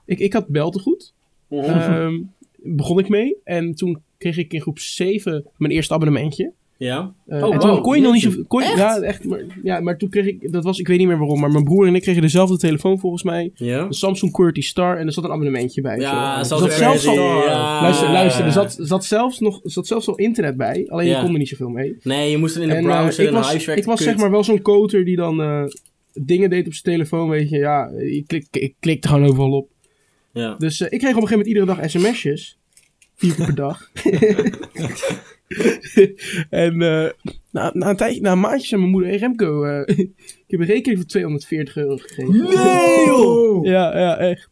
S4: Ik, ik had beltegoed. Ehm begon ik mee. En toen kreeg ik in groep 7 mijn eerste abonnementje.
S3: Ja.
S4: Eh,
S3: Oh,
S4: en toen
S3: wow,
S4: kon je nog niet
S3: jeetje.
S4: zo... Kon je,
S3: Echt?
S4: Ja, echt. Maar, ja, maar toen kreeg ik... Dat was, ik weet niet meer waarom. Maar mijn broer en ik kregen dezelfde telefoon volgens mij.
S3: Ja.
S4: Een Samsung QWERTY Star. En er zat een abonnementje bij.
S3: Ja,
S4: zo.
S3: zoals
S4: Er zat
S3: ik
S4: zelfs
S3: zei,
S4: al...
S2: al-
S3: ja.
S4: Luister, luister. Er zat, zat zelfs nog, er zat zelfs al internet bij. Alleen
S3: Ja.
S4: je kon er niet zoveel mee.
S3: Nee, je moest er in de
S4: En, eh,
S3: browser
S4: ik
S3: en een
S4: was,
S3: huiswerk.
S4: ik was zeg maar wel zo'n koter die dan eh, dingen deed op zijn telefoon, weet je. Ja, ik, klik, ik klikte gewoon overal op.
S3: Ja.
S4: Dus eh, ik kreeg op een gegeven moment iedere dag sms'jes. Vier keer per dag. en eh, na, na, een tijdje, na een maandje zei mijn moeder... Hey Remco, eh, ik heb een rekening van 240 euro gekregen.
S3: Nee, joh!
S4: Ja, ja, echt.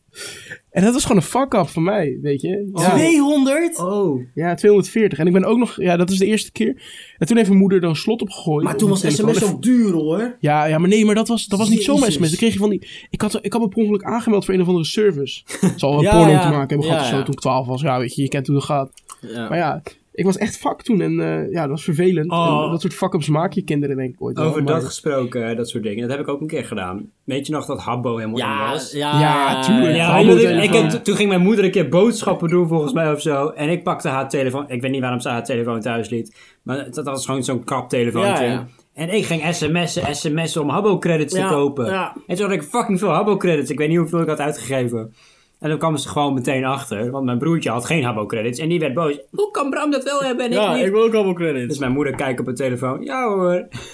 S4: En dat was gewoon een fuck-up van mij, weet je.
S3: Oh.
S4: Ja.
S3: 200?
S2: Oh.
S4: Ja, 240. En ik ben ook nog... Ja, dat is de eerste keer. En toen heeft mijn moeder er een slot op gegooid.
S3: Maar toen
S4: op
S3: was
S4: mijn telefoon.
S3: sms ook duur hoor.
S4: Ja, ja, maar nee, maar dat was, dat was niet zomaar
S3: Jezus.
S4: sms. Dan kreeg je van die... Ik had, ik had me per ongeluk aangemeld voor een of andere
S3: <laughs>
S4: service. Het zal wel
S3: Ja,
S4: porno
S3: ja.
S4: te maken hebben gehad
S3: Ja,
S4: of zo
S3: ja.
S4: toen ik 12 was. Ja, weet je, je kent hoe dat gaat.
S3: Ja.
S4: Maar ja, ik was echt fuck toen. En eh, ja, dat was vervelend.
S2: Oh.
S4: En dat soort fuck-ups maak je kinderen denk ik ooit wel,
S2: Over dat
S4: maar-
S2: gesproken, eh, dat soort dingen. Dat heb ik ook een keer gedaan. Weet je nog dat Habbo helemaal in
S3: Ja,
S2: was?
S3: ja,
S4: Ja,
S2: Ja,
S4: tuurlijk.
S2: weet
S4: Habbo
S2: je wat ik- ik,
S4: telefoon.
S2: heb- toen ging mijn moeder een keer boodschappen doen volgens mij of zo. En ik pakte haar telefoon. Ik weet niet waarom ze haar telefoon thuis liet. Maar dat was gewoon zo'n kaptelefoontje.
S3: Ja, ja.
S2: En ik ging sms'en, sms'en om Habbo-credits
S3: Ja,
S2: te kopen.
S3: ja.
S2: En toen had ik fucking veel Habbo-credits. Ik weet niet hoeveel ik had uitgegeven. En dan kwamen ze gewoon meteen achter. Want mijn broertje had geen Habbo-credits. En die werd boos. Hoe kan Bram dat wel hebben en ik niet?
S3: wil ook allemaal credits.
S2: Dus mijn moeder kijkt op haar telefoon. Ja hoor. Dus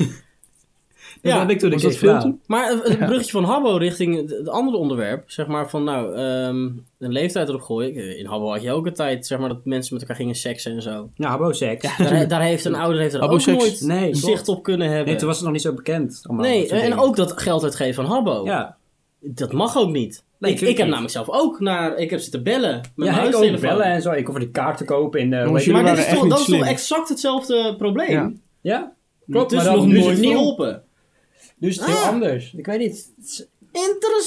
S3: Ja,
S2: dat heb ik toen een
S4: was dat
S2: keer
S4: veel
S2: gedaan.
S4: toen?
S3: Maar het het bruggetje van Habbo richting het- het andere onderwerp, zeg maar van nou, ehm, een leeftijd erop gooien. In Habbo had je ook een tijd, zeg maar, dat mensen met elkaar gingen seksen en zo.
S2: Ja, Habbo-seks.
S3: Daar, daar heeft een ouder heeft er
S4: Habbo
S3: ook
S4: seks.
S3: nooit
S2: Nee, klopt.
S3: zicht op kunnen hebben.
S2: Nee, toen was het nog niet zo bekend. allemaal,
S3: Nee,
S2: dat soort
S3: en
S2: dingen.
S3: ook dat geld uitgeven van Habbo.
S2: Ja,
S3: Dat mag ook niet.
S2: Nee,
S3: ik,
S2: tuurlijk
S3: ik heb
S2: niet.
S3: namelijk zelf ook naar... Ik heb zitten bellen met mijn
S2: ja ik ook
S3: huistelefoon.
S2: bellen en zo. Ik hoef die kaarten kopen in de... weet je-
S4: jullie
S3: Maar dit
S4: waren
S3: is
S4: echt
S3: toch,
S4: niet
S3: dat is toch
S4: slim.
S3: exact hetzelfde probleem?
S4: Ja.
S2: Ja,
S3: Klopt,
S2: maar
S3: dus
S2: dan
S3: nog
S2: nu is
S3: nooit
S2: het
S3: niet
S2: nieuw.
S3: geholpen.
S2: nu is Dus het heel
S3: Ah.
S2: anders. Ik weet niet. Het is-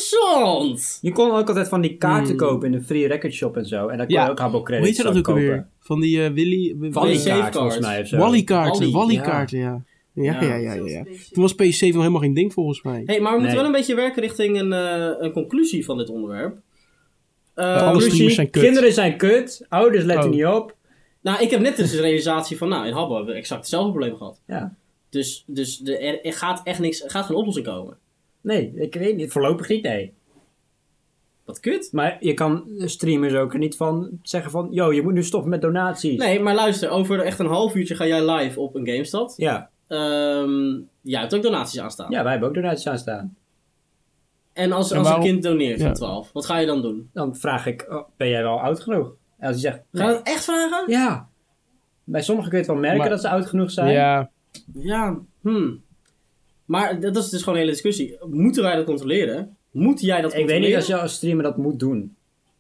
S3: Interessant!
S2: Je kon ook altijd van die kaarten kopen in een free record shop en zo. En daar kon
S4: Ja.
S2: je ook Habbo
S4: Hoe heet
S2: Credits
S4: je dat ook
S2: kopen.
S4: alweer? Van die eh, Willy...
S2: Van die
S3: Wally
S2: kaart
S3: Safeguard.
S2: volgens mij of zo.
S4: Wally-kaarten.
S3: Wally,
S4: Wally-kaarten, ja. Ja, ja,
S3: Ja,
S4: ja, ja. ja. Toen was PC nog helemaal geen ding volgens mij.
S3: hey, maar we moeten
S2: Nee.
S3: wel een beetje werken richting een, eh, een conclusie van dit onderwerp. Eh,
S4: Eh, alle
S2: Ruzie,
S4: streamers zijn kut.
S2: Kinderen zijn kut. Ouders letten
S4: Oh.
S2: niet op.
S3: nou, ik heb net dus de realisatie van... Nou, in Habbo hebben we exact hetzelfde probleem gehad.
S2: Ja.
S3: Dus, dus de, er, er gaat echt niks... Er gaat geen oplossing komen.
S2: Nee, ik weet niet. Voorlopig niet, nee.
S3: Wat kut.
S2: Maar je kan streamers ook er niet van zeggen van... Yo, je moet nu stoppen met donaties.
S3: Nee, maar luister. Over echt een half uurtje ga jij live op een GameStad.
S2: Ja.
S3: Ehm jij hebt ook donaties aanstaan.
S2: ja, wij hebben ook donaties aanstaan.
S3: En als,
S4: En
S3: als een
S4: waarom-
S3: kind doneert
S4: Ja.
S3: van 12, wat ga je dan doen?
S2: Dan vraag ik, oh, ben jij wel oud genoeg? En als hij zegt,
S3: Ga je dat echt vragen?
S2: ja. Bij sommigen kun je het wel merken
S4: Nou, Maar-
S2: dat ze oud genoeg zijn.
S4: Ja,
S3: Ja, hmm. Maar dat is dus gewoon een hele discussie. Moeten wij dat controleren? Moet jij dat
S2: Ik weet
S3: controleren?
S2: niet als je als streamer dat moet doen.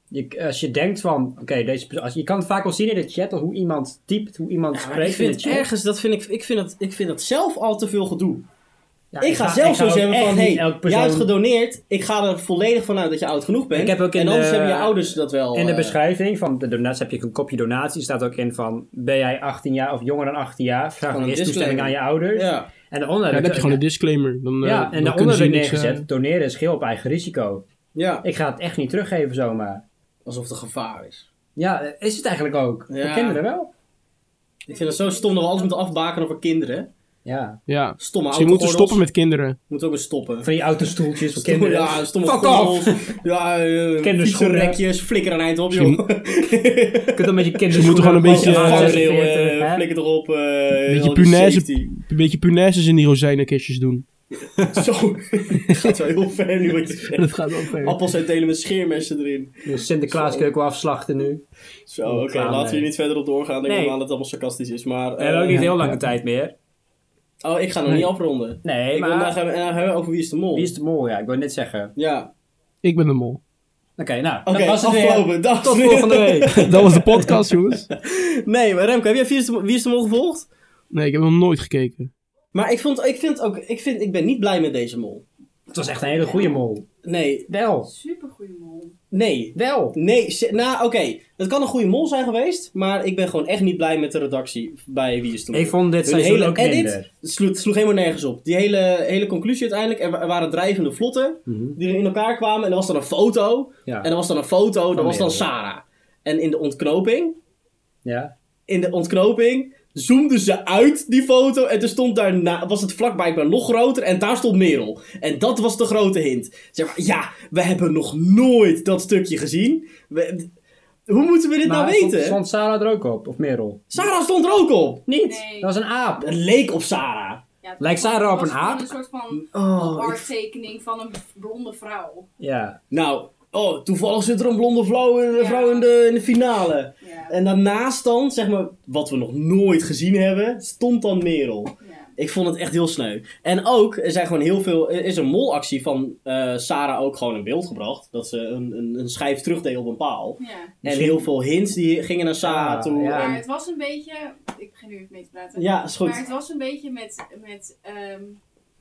S2: Je, als je denkt van, oké, deze perso- als je kan het vaak wel zien in de chat hoe iemand typt, hoe iemand
S3: Ja, maar
S2: spreekt
S3: ik
S2: in
S3: vind
S2: de
S3: het
S2: chat.
S3: ergens, dat vind ik, ik, vind dat, ik vind dat zelf al te veel gedoe.
S2: Ja,
S3: ik, ga zelf zo
S2: ook
S3: zeggen
S2: echt
S3: van,
S2: niet
S3: hey,
S2: elk
S3: jij hebt
S2: persoon-
S3: gedoneerd, ik ga er volledig van uit dat je oud genoeg bent.
S2: Ik heb ook in
S3: en anders
S2: de-
S3: hebben je ouders dat wel.
S2: In de
S3: eh,
S2: beschrijving van de donatie heb je een kopje donatie. staat ook in van, ben jij 18 jaar of jonger dan 18 jaar? Vraag
S3: Gewoon een
S2: eerst toestemming
S3: disclaimer.
S2: aan je ouders.
S3: Ja.
S2: En daaronder
S4: Ja,
S2: heb
S4: dan heb
S2: ik-
S4: je gewoon een disclaimer. Dan, eh,
S2: Ja, en
S4: dan
S2: daaronder
S4: kunnen ze
S2: heb ik
S4: je niks,
S2: neergezet,
S4: eh,
S2: doneren is geel op eigen risico.
S3: ja,
S2: Ik ga het echt niet teruggeven zomaar.
S3: alsof het een gevaar is.
S2: Ja, eh, is het eigenlijk ook.
S3: Ja.
S2: Voor kinderen wel.
S3: Ik vind het zo stom dat we alles moeten afbaken over kinderen.
S2: Ja.
S4: Ja.
S3: Stomme
S4: Misschien moeten we
S3: autogordels.
S4: stoppen met kinderen.
S3: Moeten we ook eens stoppen.
S2: Van die autostoeltjes voor
S3: Stomme,
S2: kinderen.
S3: ja, stomme
S2: Fuck
S3: gordels.
S2: off!
S3: Ja,
S2: Kinderschoenen.
S3: fietsenrekjes. Flikker een eind op,
S4: Misschien-
S3: joh.
S2: Je kunt dan met je kinderen
S4: moeten gewoon een beetje,
S3: Ja,
S4: eh,
S3: vangrail, eh, flikker erop. eh,
S4: Beetje
S3: al die
S4: punaise-
S3: safety. <laughs>
S4: Een beetje punaises in die rozijnenkistjes doen.
S3: Zo. Het gaat wel heel ver nu
S4: <laughs>
S3: wat je zegt.
S4: Dat gaat wel ver.
S3: Appels uitdelen met scheermessen erin.
S2: De Sinterklaaskeuken wil Dus afslachten nu.
S3: Zo,
S2: Oh,
S3: oké.
S2: klaar,
S3: laten we hier
S2: nee.
S3: niet verder op doorgaan. Ik
S2: Nee.
S3: neem aan dat het allemaal sarcastisch is. Maar,
S2: We hebben
S3: eh,
S2: ook niet heel lange tijd meer.
S3: Oh, ik ga nog niet afronden.
S2: Nee,
S3: Ik wil
S2: maar...
S3: vandaag hebben, en dan hebben we over wie is de mol.
S2: Wie is de mol? Ja, ik wil net zeggen.
S3: Ja.
S4: Ik ben de mol. <laughs>
S2: Oké, nou.
S3: Oké,
S2: dat was het
S3: afgelopen.
S2: weer.
S3: Dag.
S2: Tot volgende week.
S4: Dat was de podcast, jongens.
S3: Nee, maar Remco, heb jij wie is, de, Mol- wie is de mol gevolgd?
S4: Nee, ik heb nog nooit gekeken.
S3: Maar ik, vond, ik vind ook... Ik, vind, ik ben niet blij met deze mol.
S2: <laughs> Het was echt een hele goede mol.
S3: Nee.
S2: Wel.
S5: Supergoeie mol.
S3: Nee.
S2: Wel.
S3: Nee, ze- nou oké, dat kan een goede mol zijn geweest, maar ik ben gewoon echt niet blij met de redactie bij Wie is de Mol.
S2: Ik vond dit
S3: Hun
S2: seizoen
S3: hele
S2: ook
S3: edit
S2: minder.
S3: sloeg, sloeg helemaal nergens op. Die hele, hele conclusie uiteindelijk, er, wa- er waren drijvende vlotten die er in elkaar kwamen en er was dan een foto,
S2: Mhm. Ja.
S3: en er was dan een foto, dat
S2: Van
S3: was dan
S2: Merel.
S3: Sarah. En in de ontknoping,
S2: Ja.
S3: in de ontknoping, zoomden ze uit die foto en toen stond daarna, was het vlak blijkbaar nog groter en daar stond Merel. En dat was de grote hint. Zeg maar, ja, we hebben nog nooit dat stukje gezien. We- hoe moeten we dit
S2: Maar
S3: nou
S2: stond-
S3: weten?
S2: Stond Sarah er ook op? Of Merel?
S3: Sarah stond er ook op.
S2: Niet.
S5: Nee.
S2: Dat was een aap.
S3: Het leek op Sarah.
S5: Ja, het
S2: Lijkt
S5: was-
S2: Sarah op
S5: was
S2: een
S5: gewoon
S2: aap?
S5: Een soort van
S3: Oh, ik-
S5: arttekening van een blonde vrouw.
S2: Ja.
S3: Nou, oh, toevallig zit er een blonde vrouw in,
S5: Ja.
S3: vrouw in, de, in de finale.
S5: Ja.
S3: En daarnaast dan, zeg maar, wat we nog nooit gezien hebben, stond dan Merel.
S5: ja.
S3: Ik vond het echt heel sneu. En ook, er zijn gewoon heel veel. Er is een molactie van eh, Sarah ook gewoon in beeld gebracht. Dat ze een, een, een schijf terugdeed op een paal.
S5: ja.
S3: En heel veel hints die gingen naar Sarah
S2: Ah,
S3: toe.
S2: ja.
S3: Ja,
S5: Maar
S3: en,
S5: het was een beetje. Ik begin nu even mee te praten.
S3: ja is
S5: Maar het
S3: goed.
S5: was een beetje met. met ehm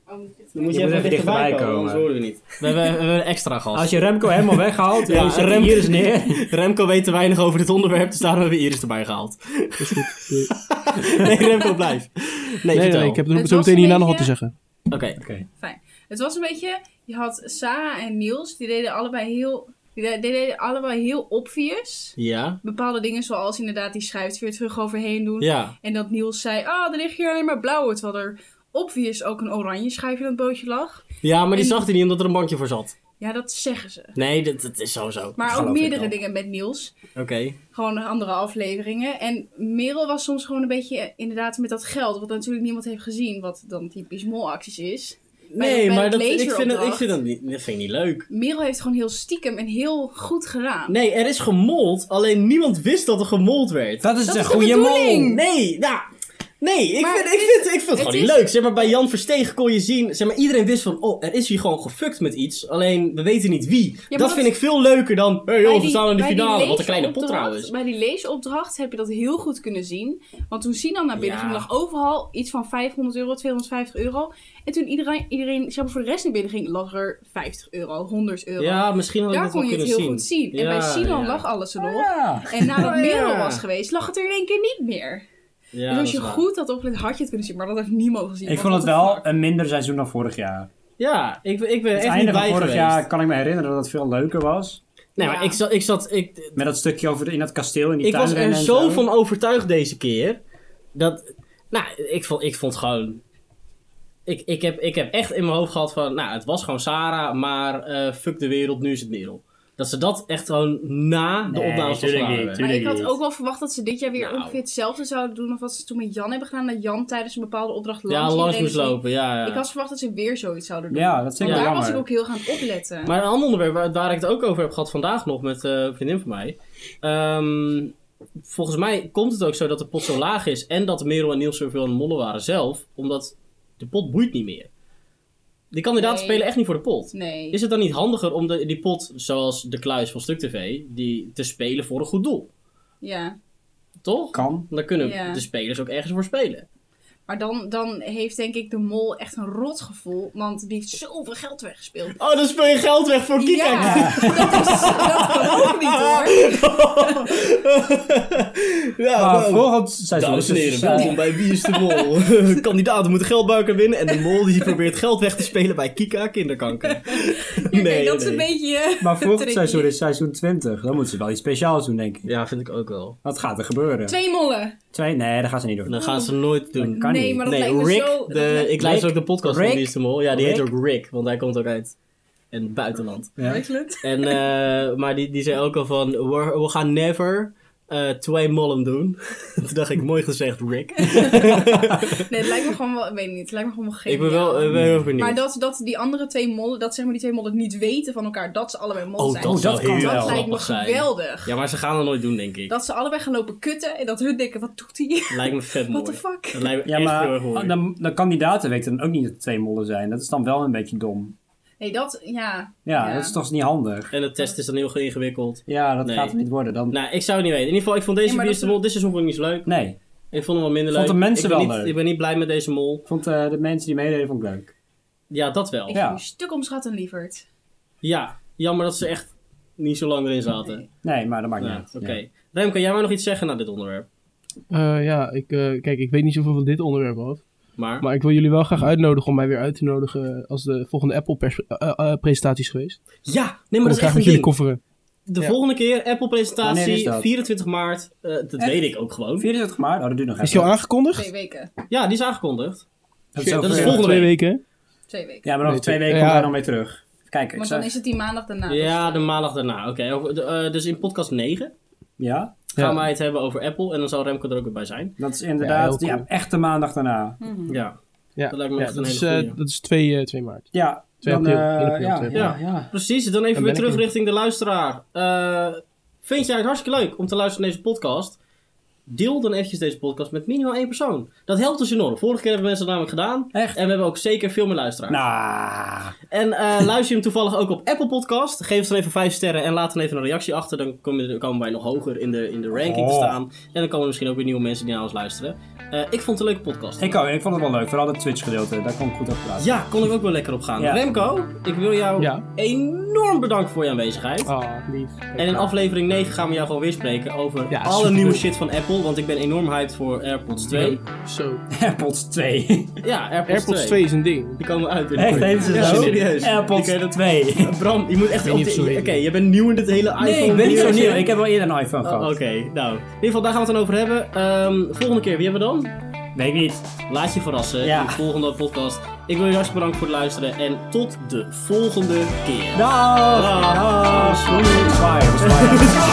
S5: oh, moet ik dit
S3: Dan moet je,
S2: Je moet
S3: even,
S2: even
S3: dichterbij
S2: dichterbij
S3: komen,
S2: komen.
S3: anders horen we niet. We hebben, een extra gast.
S2: Als je Remco helemaal weghaalt,
S3: Ja,
S2: dan zet
S3: Remco-
S2: hij hier eens <laughs> neer.
S3: Remco weet te weinig over dit onderwerp, dus daarom hebben we Iris erbij gehaald.
S4: Is goed. Doei.
S3: <laughs> Nee, Remco, blijf. Nee,
S4: Nee,
S3: vertel.
S4: nee, ik heb er
S5: Het
S4: zo
S5: was
S4: meteen
S5: een
S4: hierna nog wat te
S5: beetje-
S4: zeggen.
S3: Oké.
S5: Het was een beetje, je had Sarah en Niels, die deden allebei heel, die de- die deden allebei heel obvious.
S3: Ja.
S5: Bepaalde dingen zoals inderdaad die schuift weer terug overheen doen.
S3: Ja.
S5: En dat Niels zei, ah, er ligt hier alleen maar blauw. Terwijl er obvious ook een oranje schuif in het bootje lag.
S3: Ja, maar die
S5: En-
S3: zag hij niet omdat er een bankje voor zat.
S5: Ja, dat zeggen ze.
S3: Nee, dat, dat is sowieso.
S5: Maar
S3: Dat
S5: ook
S3: geloof ik
S5: meerdere
S3: wel.
S5: dingen met Niels.
S3: Oké.
S5: Gewoon andere afleveringen. En Merel was soms gewoon een beetje eh, inderdaad met dat geld. Wat natuurlijk niemand heeft gezien. Wat dan typisch molacties is.
S3: Nee,
S5: bij
S3: maar
S5: het
S3: dat, ik vind, het,
S5: lezeropdracht.
S3: ik vind dat, niet, dat vind ik niet leuk.
S5: Merel heeft gewoon heel stiekem en heel goed gedaan.
S3: Nee, er is gemold, alleen niemand wist dat er gemold werd.
S2: Dat is
S5: Dat
S2: een
S5: is de
S2: goede
S5: bedoeling.
S2: mol.
S3: Nee, nou. Nee, ik
S5: Maar
S3: vind, ik,
S5: het is-
S3: vind, ik vind het gewoon
S5: het
S3: niet
S5: is-
S3: leuk. Zeg maar, bij Jan Versteeg kon je zien... Zeg maar, iedereen wist van... Oh, er is hier gewoon gefukt met iets. Alleen, we weten niet wie. dat,
S5: maar dat-
S3: vind ik veel leuker dan... Hé hey,
S5: Bij
S3: joh, we
S5: die-
S3: staan in de
S5: bij die
S3: finale. Wat een kleine pot
S5: leesopdracht-
S3: trouwens.
S5: Bij die leesopdracht heb je dat heel goed kunnen zien. Want toen Sinan naar binnen
S3: Ja.
S5: ging, lag overal iets van 500 euro, 250 euro. En toen iedereen, iedereen zeg maar voor de rest naar binnen ging, lag er 50 euro, 100 euro.
S3: Ja, misschien had ik
S5: Daar
S3: dat wel
S5: kon je het
S3: kunnen
S5: heel
S3: zien.
S5: goed zien. En
S3: Ja,
S5: bij Sinan
S3: ja.
S5: lag alles erop.
S2: Ja.
S5: En nadat
S3: Ja.
S5: Merel was geweest, lag het er in één keer niet meer.
S3: Ja,
S5: dus
S3: dat
S5: als
S3: is
S5: je
S3: waar.
S5: goed had opgelet, had je het kunnen zien. Maar dat heeft niemand
S2: Ik
S5: gezien. want
S2: vond het
S5: what the fuck.
S2: wel een minder seizoen dan vorig jaar.
S3: Ja, ik, ik ben
S2: Het
S3: echt niet
S2: einde van
S3: blij
S2: vorig
S3: geweest.
S2: jaar kan ik me herinneren dat het veel leuker was.
S3: Nee, maar
S5: Ja.
S3: ik zat... Ik, zat, ik,
S2: Met dat stukje over de- in dat kasteel in die
S3: ik was
S2: tuinrennen
S3: er
S2: en
S3: zo van overtuigd deze keer. Dat, nou, ik vond, ik vond gewoon... Ik, ik, heb, ik heb echt in mijn hoofd gehad van... Nou, het was gewoon Sarah, maar eh, fuck de wereld, nu is het Merel. Dat ze dat echt gewoon na de
S2: Nee,
S3: opnames van
S2: tuurlijk
S3: Sarah
S2: niet,
S3: hebben.
S2: tuurlijk.
S5: Maar ik had
S2: niet.
S5: ook wel verwacht dat ze dit jaar weer
S3: Nou.
S5: ongeveer hetzelfde zouden doen. Of wat ze toen met Jan hebben gedaan. Dat Jan tijdens een bepaalde opdracht langs
S3: Ja, langs
S5: iedereen
S3: moest
S5: ging.
S3: lopen, ja. ja.
S5: Ik had verwacht dat ze weer zoiets zouden doen.
S2: Ja, dat vind
S5: Want
S2: ik
S5: daar
S2: wel
S5: was ik
S2: jammer.
S5: ook heel gaan opletten.
S3: Maar een ander onderwerp waar, waar ik het ook over heb gehad vandaag nog met eh, een vriendin van mij. Ehm, volgens mij komt het ook zo dat de pot zo laag is en dat Merel en Niels zoveel aan het mollen waren zelf. Omdat de pot boeit niet meer. Die kandidaten
S5: Nee.
S3: spelen echt niet voor de pot.
S5: nee.
S3: Is het dan niet handiger om de, die pot, zoals de kluis van Stuk TV, die te spelen voor een goed doel?
S5: Ja.
S3: Toch?
S2: Kan.
S3: Dan kunnen
S5: Ja.
S3: de spelers ook ergens voor spelen.
S5: Maar dan, dan heeft denk ik de mol echt een rot gevoel. Want die heeft zoveel geld weggespeeld.
S3: Oh, dan speel je geld weg voor <laughs>
S5: Ja, dat, is, dat kan ook niet hoor.
S3: ja,
S2: Maar
S3: nou,
S2: volgend seizoen.
S3: Dames en
S2: dus,
S3: heren,
S2: eh,
S3: welkom bij Wie is de Mol.
S5: <laughs>
S3: <laughs> Kandidaten moeten geldbuiken winnen en de mol die probeert geld weg te spelen bij Kika kinderkanker.
S5: <laughs> Oké, dat is een beetje... eh,
S2: Maar volgend
S5: tricky.
S2: seizoen is seizoen 20. Dan moeten ze wel iets speciaals doen, denk ik.
S3: Ja, vind ik ook wel.
S2: Wat gaat er gebeuren?
S5: Twee mollen.
S2: Twee? Nee, dat gaan ze niet
S3: En
S2: doen.
S3: dan gaan ze nooit doen.
S2: Kan
S5: nee,
S2: niet.
S5: Oh. maar dat lijkt
S3: Nee,
S5: me zo...
S3: Rick,
S5: dat
S3: de,
S5: lijkt-
S3: ik luister ook
S2: Rick?
S3: de podcast van
S2: Rick?
S3: Wie is de Mol. Ja, die heet
S2: Rick?
S3: ook Rick, want hij komt ook uit in het
S5: <laughs>
S3: buitenland.
S2: Ja.
S5: Eigenlijk.
S3: En, eh, maar die, die zei ook al van, we, we gaan never eh, twee mollen doen. <laughs> Toen dacht ik, mooi gezegd Rick.
S5: <laughs> Nee, het lijkt me gewoon wel... Ik weet niet, het lijkt me gewoon wel geen.
S3: ik ben wel eh, ben heel benieuwd.
S5: Maar dat, dat die andere twee mollen, dat zeg maar die twee mollen niet weten van elkaar dat ze allebei mol
S3: Oh,
S5: zijn.
S3: dat
S2: Oh,
S3: zou
S2: dat
S3: heel
S2: kan.
S5: dat
S2: wel
S5: lijkt me
S3: grappig zijn.
S5: geweldig.
S3: Ja, maar ze gaan dat nooit doen, denk ik.
S5: Dat ze allebei gaan lopen kutten en dat hun denken, wat doet hij?
S3: Lijkt me vet mooi.
S5: <laughs> What the fuck?
S3: Dat lijkt me
S2: Ja,
S3: echt heel
S2: maar
S3: erg mooi.
S2: dan, de kandidaten weten dan ook niet dat het twee mollen zijn. Dat is dan wel een beetje dom.
S5: Nee, dat, ja.
S2: Ja, dat is toch niet handig.
S3: En de test is dan heel ingewikkeld.
S2: Ja, dat
S3: Nee.
S2: gaat het niet worden. Dan...
S3: Nou, ik zou het niet weten. In ieder geval, ik vond deze
S5: Nee, maar
S3: Wie is
S5: dat-
S3: de Mol dit seizoen vond ik niet zo leuk.
S2: Nee,
S3: Ik vond hem wel minder leuk.
S2: Vond de mensen
S3: ik ben
S2: wel
S3: niet,
S2: leuk.
S3: Ik ben niet blij met deze mol.
S2: ik vond eh, de mensen die meededen vond ik leuk.
S3: Ja, dat wel.
S5: Ik
S2: Ja.
S5: ja. een stuk omschatten, lieverd.
S3: Ja, jammer dat ze echt niet zo lang erin zaten.
S5: Nee.
S2: Nee, maar dat maakt niet
S3: Ja,
S2: uit.
S3: Oké. Rem, kan jij maar nog iets zeggen naar dit onderwerp?
S4: Eh, ja, ik, eh, kijk, ik weet niet zoveel van dit onderwerp af.
S3: Maar,
S4: Maar ik wil jullie wel graag uitnodigen om mij weer uit te nodigen als de volgende eh, Apple-presentatie is geweest. Ik
S2: Oh,
S3: ja, nee, maar
S4: wil
S3: dat is
S4: graag
S3: echt een
S4: met jullie
S3: ding.
S4: kofferen.
S3: De
S4: Ja.
S3: volgende keer,
S2: Wanneer is
S3: Apple-presentatie,
S2: dat?
S3: 24 maart. Eh, dat
S5: Echt?
S3: weet ik ook gewoon.
S2: 24 maart? Oh, dat duurt nog
S4: Is die al
S2: even.
S4: aangekondigd?
S5: Twee weken.
S3: Ja, die is aangekondigd.
S2: Dat
S4: Shit,
S2: over-
S3: dat is
S2: ja.
S3: volgende
S4: Twee
S3: week.
S4: weken.
S5: Twee weken.
S2: Ja, maar over
S4: Nee,
S2: twee
S4: twee-
S2: weken komt
S4: ja.
S2: hij dan weer terug. Kijk, ik
S5: maar
S2: zou...
S5: dan is het die maandag daarna.
S3: Ja, de maandag daarna. Oké, over- de- eh, dus in podcast 9
S2: Ja,
S3: gaan
S4: Ja.
S3: wij het hebben over Apple. En dan zal Remco er ook weer bij zijn.
S2: dat is
S4: Ja,
S2: inderdaad
S4: heel cool.
S2: ja, echt de maandag daarna.
S5: Hm.
S3: Ja,
S4: Ja,
S3: Dat lijkt me
S4: ja,
S3: echt
S4: dat,
S3: een
S4: is,
S3: hele
S4: eh,
S3: goeie.
S4: dat is 2, eh, 2 maart.
S2: Ja,
S4: Twee
S2: dan...
S4: april,
S2: eh,
S4: één april,
S2: ja,
S4: twee april.
S2: ja, ja.
S3: precies. Dan even
S4: Dan
S3: weer
S4: ben ik
S3: terug
S4: er.
S3: richting de luisteraar. Eh, vind jij het hartstikke leuk om te luisteren naar deze podcast? Deel dan eventjes deze podcast met minimaal één persoon. Dat helpt ons enorm. Vorige keer hebben mensen dat namelijk gedaan.
S2: Echt?
S3: En we hebben ook zeker veel meer luisteraars.
S2: Nou,
S3: En eh,
S4: <laughs>
S3: luister je hem toevallig ook op Apple Podcast. Geef ons dan even 5 sterren en laat dan even een reactie achter. Dan kom je- dan komen wij nog hoger in de, in de ranking te
S2: Oh.
S3: staan. En dan komen er misschien ook weer nieuwe mensen die naar ons luisteren. Eh, ik vond het een leuke podcast.
S2: ik ook. Ik vond het wel leuk. Vooral het Twitch gedeelte. Daar kon ik goed op praten.
S3: Ja, kon ik ook wel lekker op gaan.
S2: Ja.
S3: Remco, ik wil jou
S4: Ja.
S3: enorm bedanken voor je aanwezigheid.
S4: Ah, lief.
S3: En in aflevering 9 gaan we jou gewoon weer spreken over
S4: Ja,
S3: alle
S4: superleuk.
S3: nieuwe shit van Apple. Want ik ben enorm hyped voor AirPods 2.
S4: Zo.
S2: AirPods 2.
S3: Ja, AirPods,
S4: AirPods 2 is een ding.
S3: Die komen uit. in-
S2: Echt, heet ze
S3: ja,
S2: zo?
S3: serieus.
S2: AirPods 2.
S3: Bram, je moet echt
S4: weet
S3: op
S4: niet
S3: de...
S4: of ze
S3: Oké,
S4: weten.
S3: je bent nieuw in dit hele iPhone.
S2: Nee, ik ben niet zo
S3: ding.
S2: nieuw. Ik heb wel eerder een iPhone
S3: Oh,
S2: gehad.
S3: Oké, nou. In ieder geval, daar gaan we het dan over hebben. Ehm, volgende keer, wie hebben we dan?
S2: Weet ik niet.
S3: Laat je verrassen
S2: Ja.
S3: in de volgende podcast. Ik wil je hartstikke bedanken voor het luisteren. En tot de volgende keer.
S2: Dag!
S3: Oh, Dag.
S2: Dag! Smile, smile.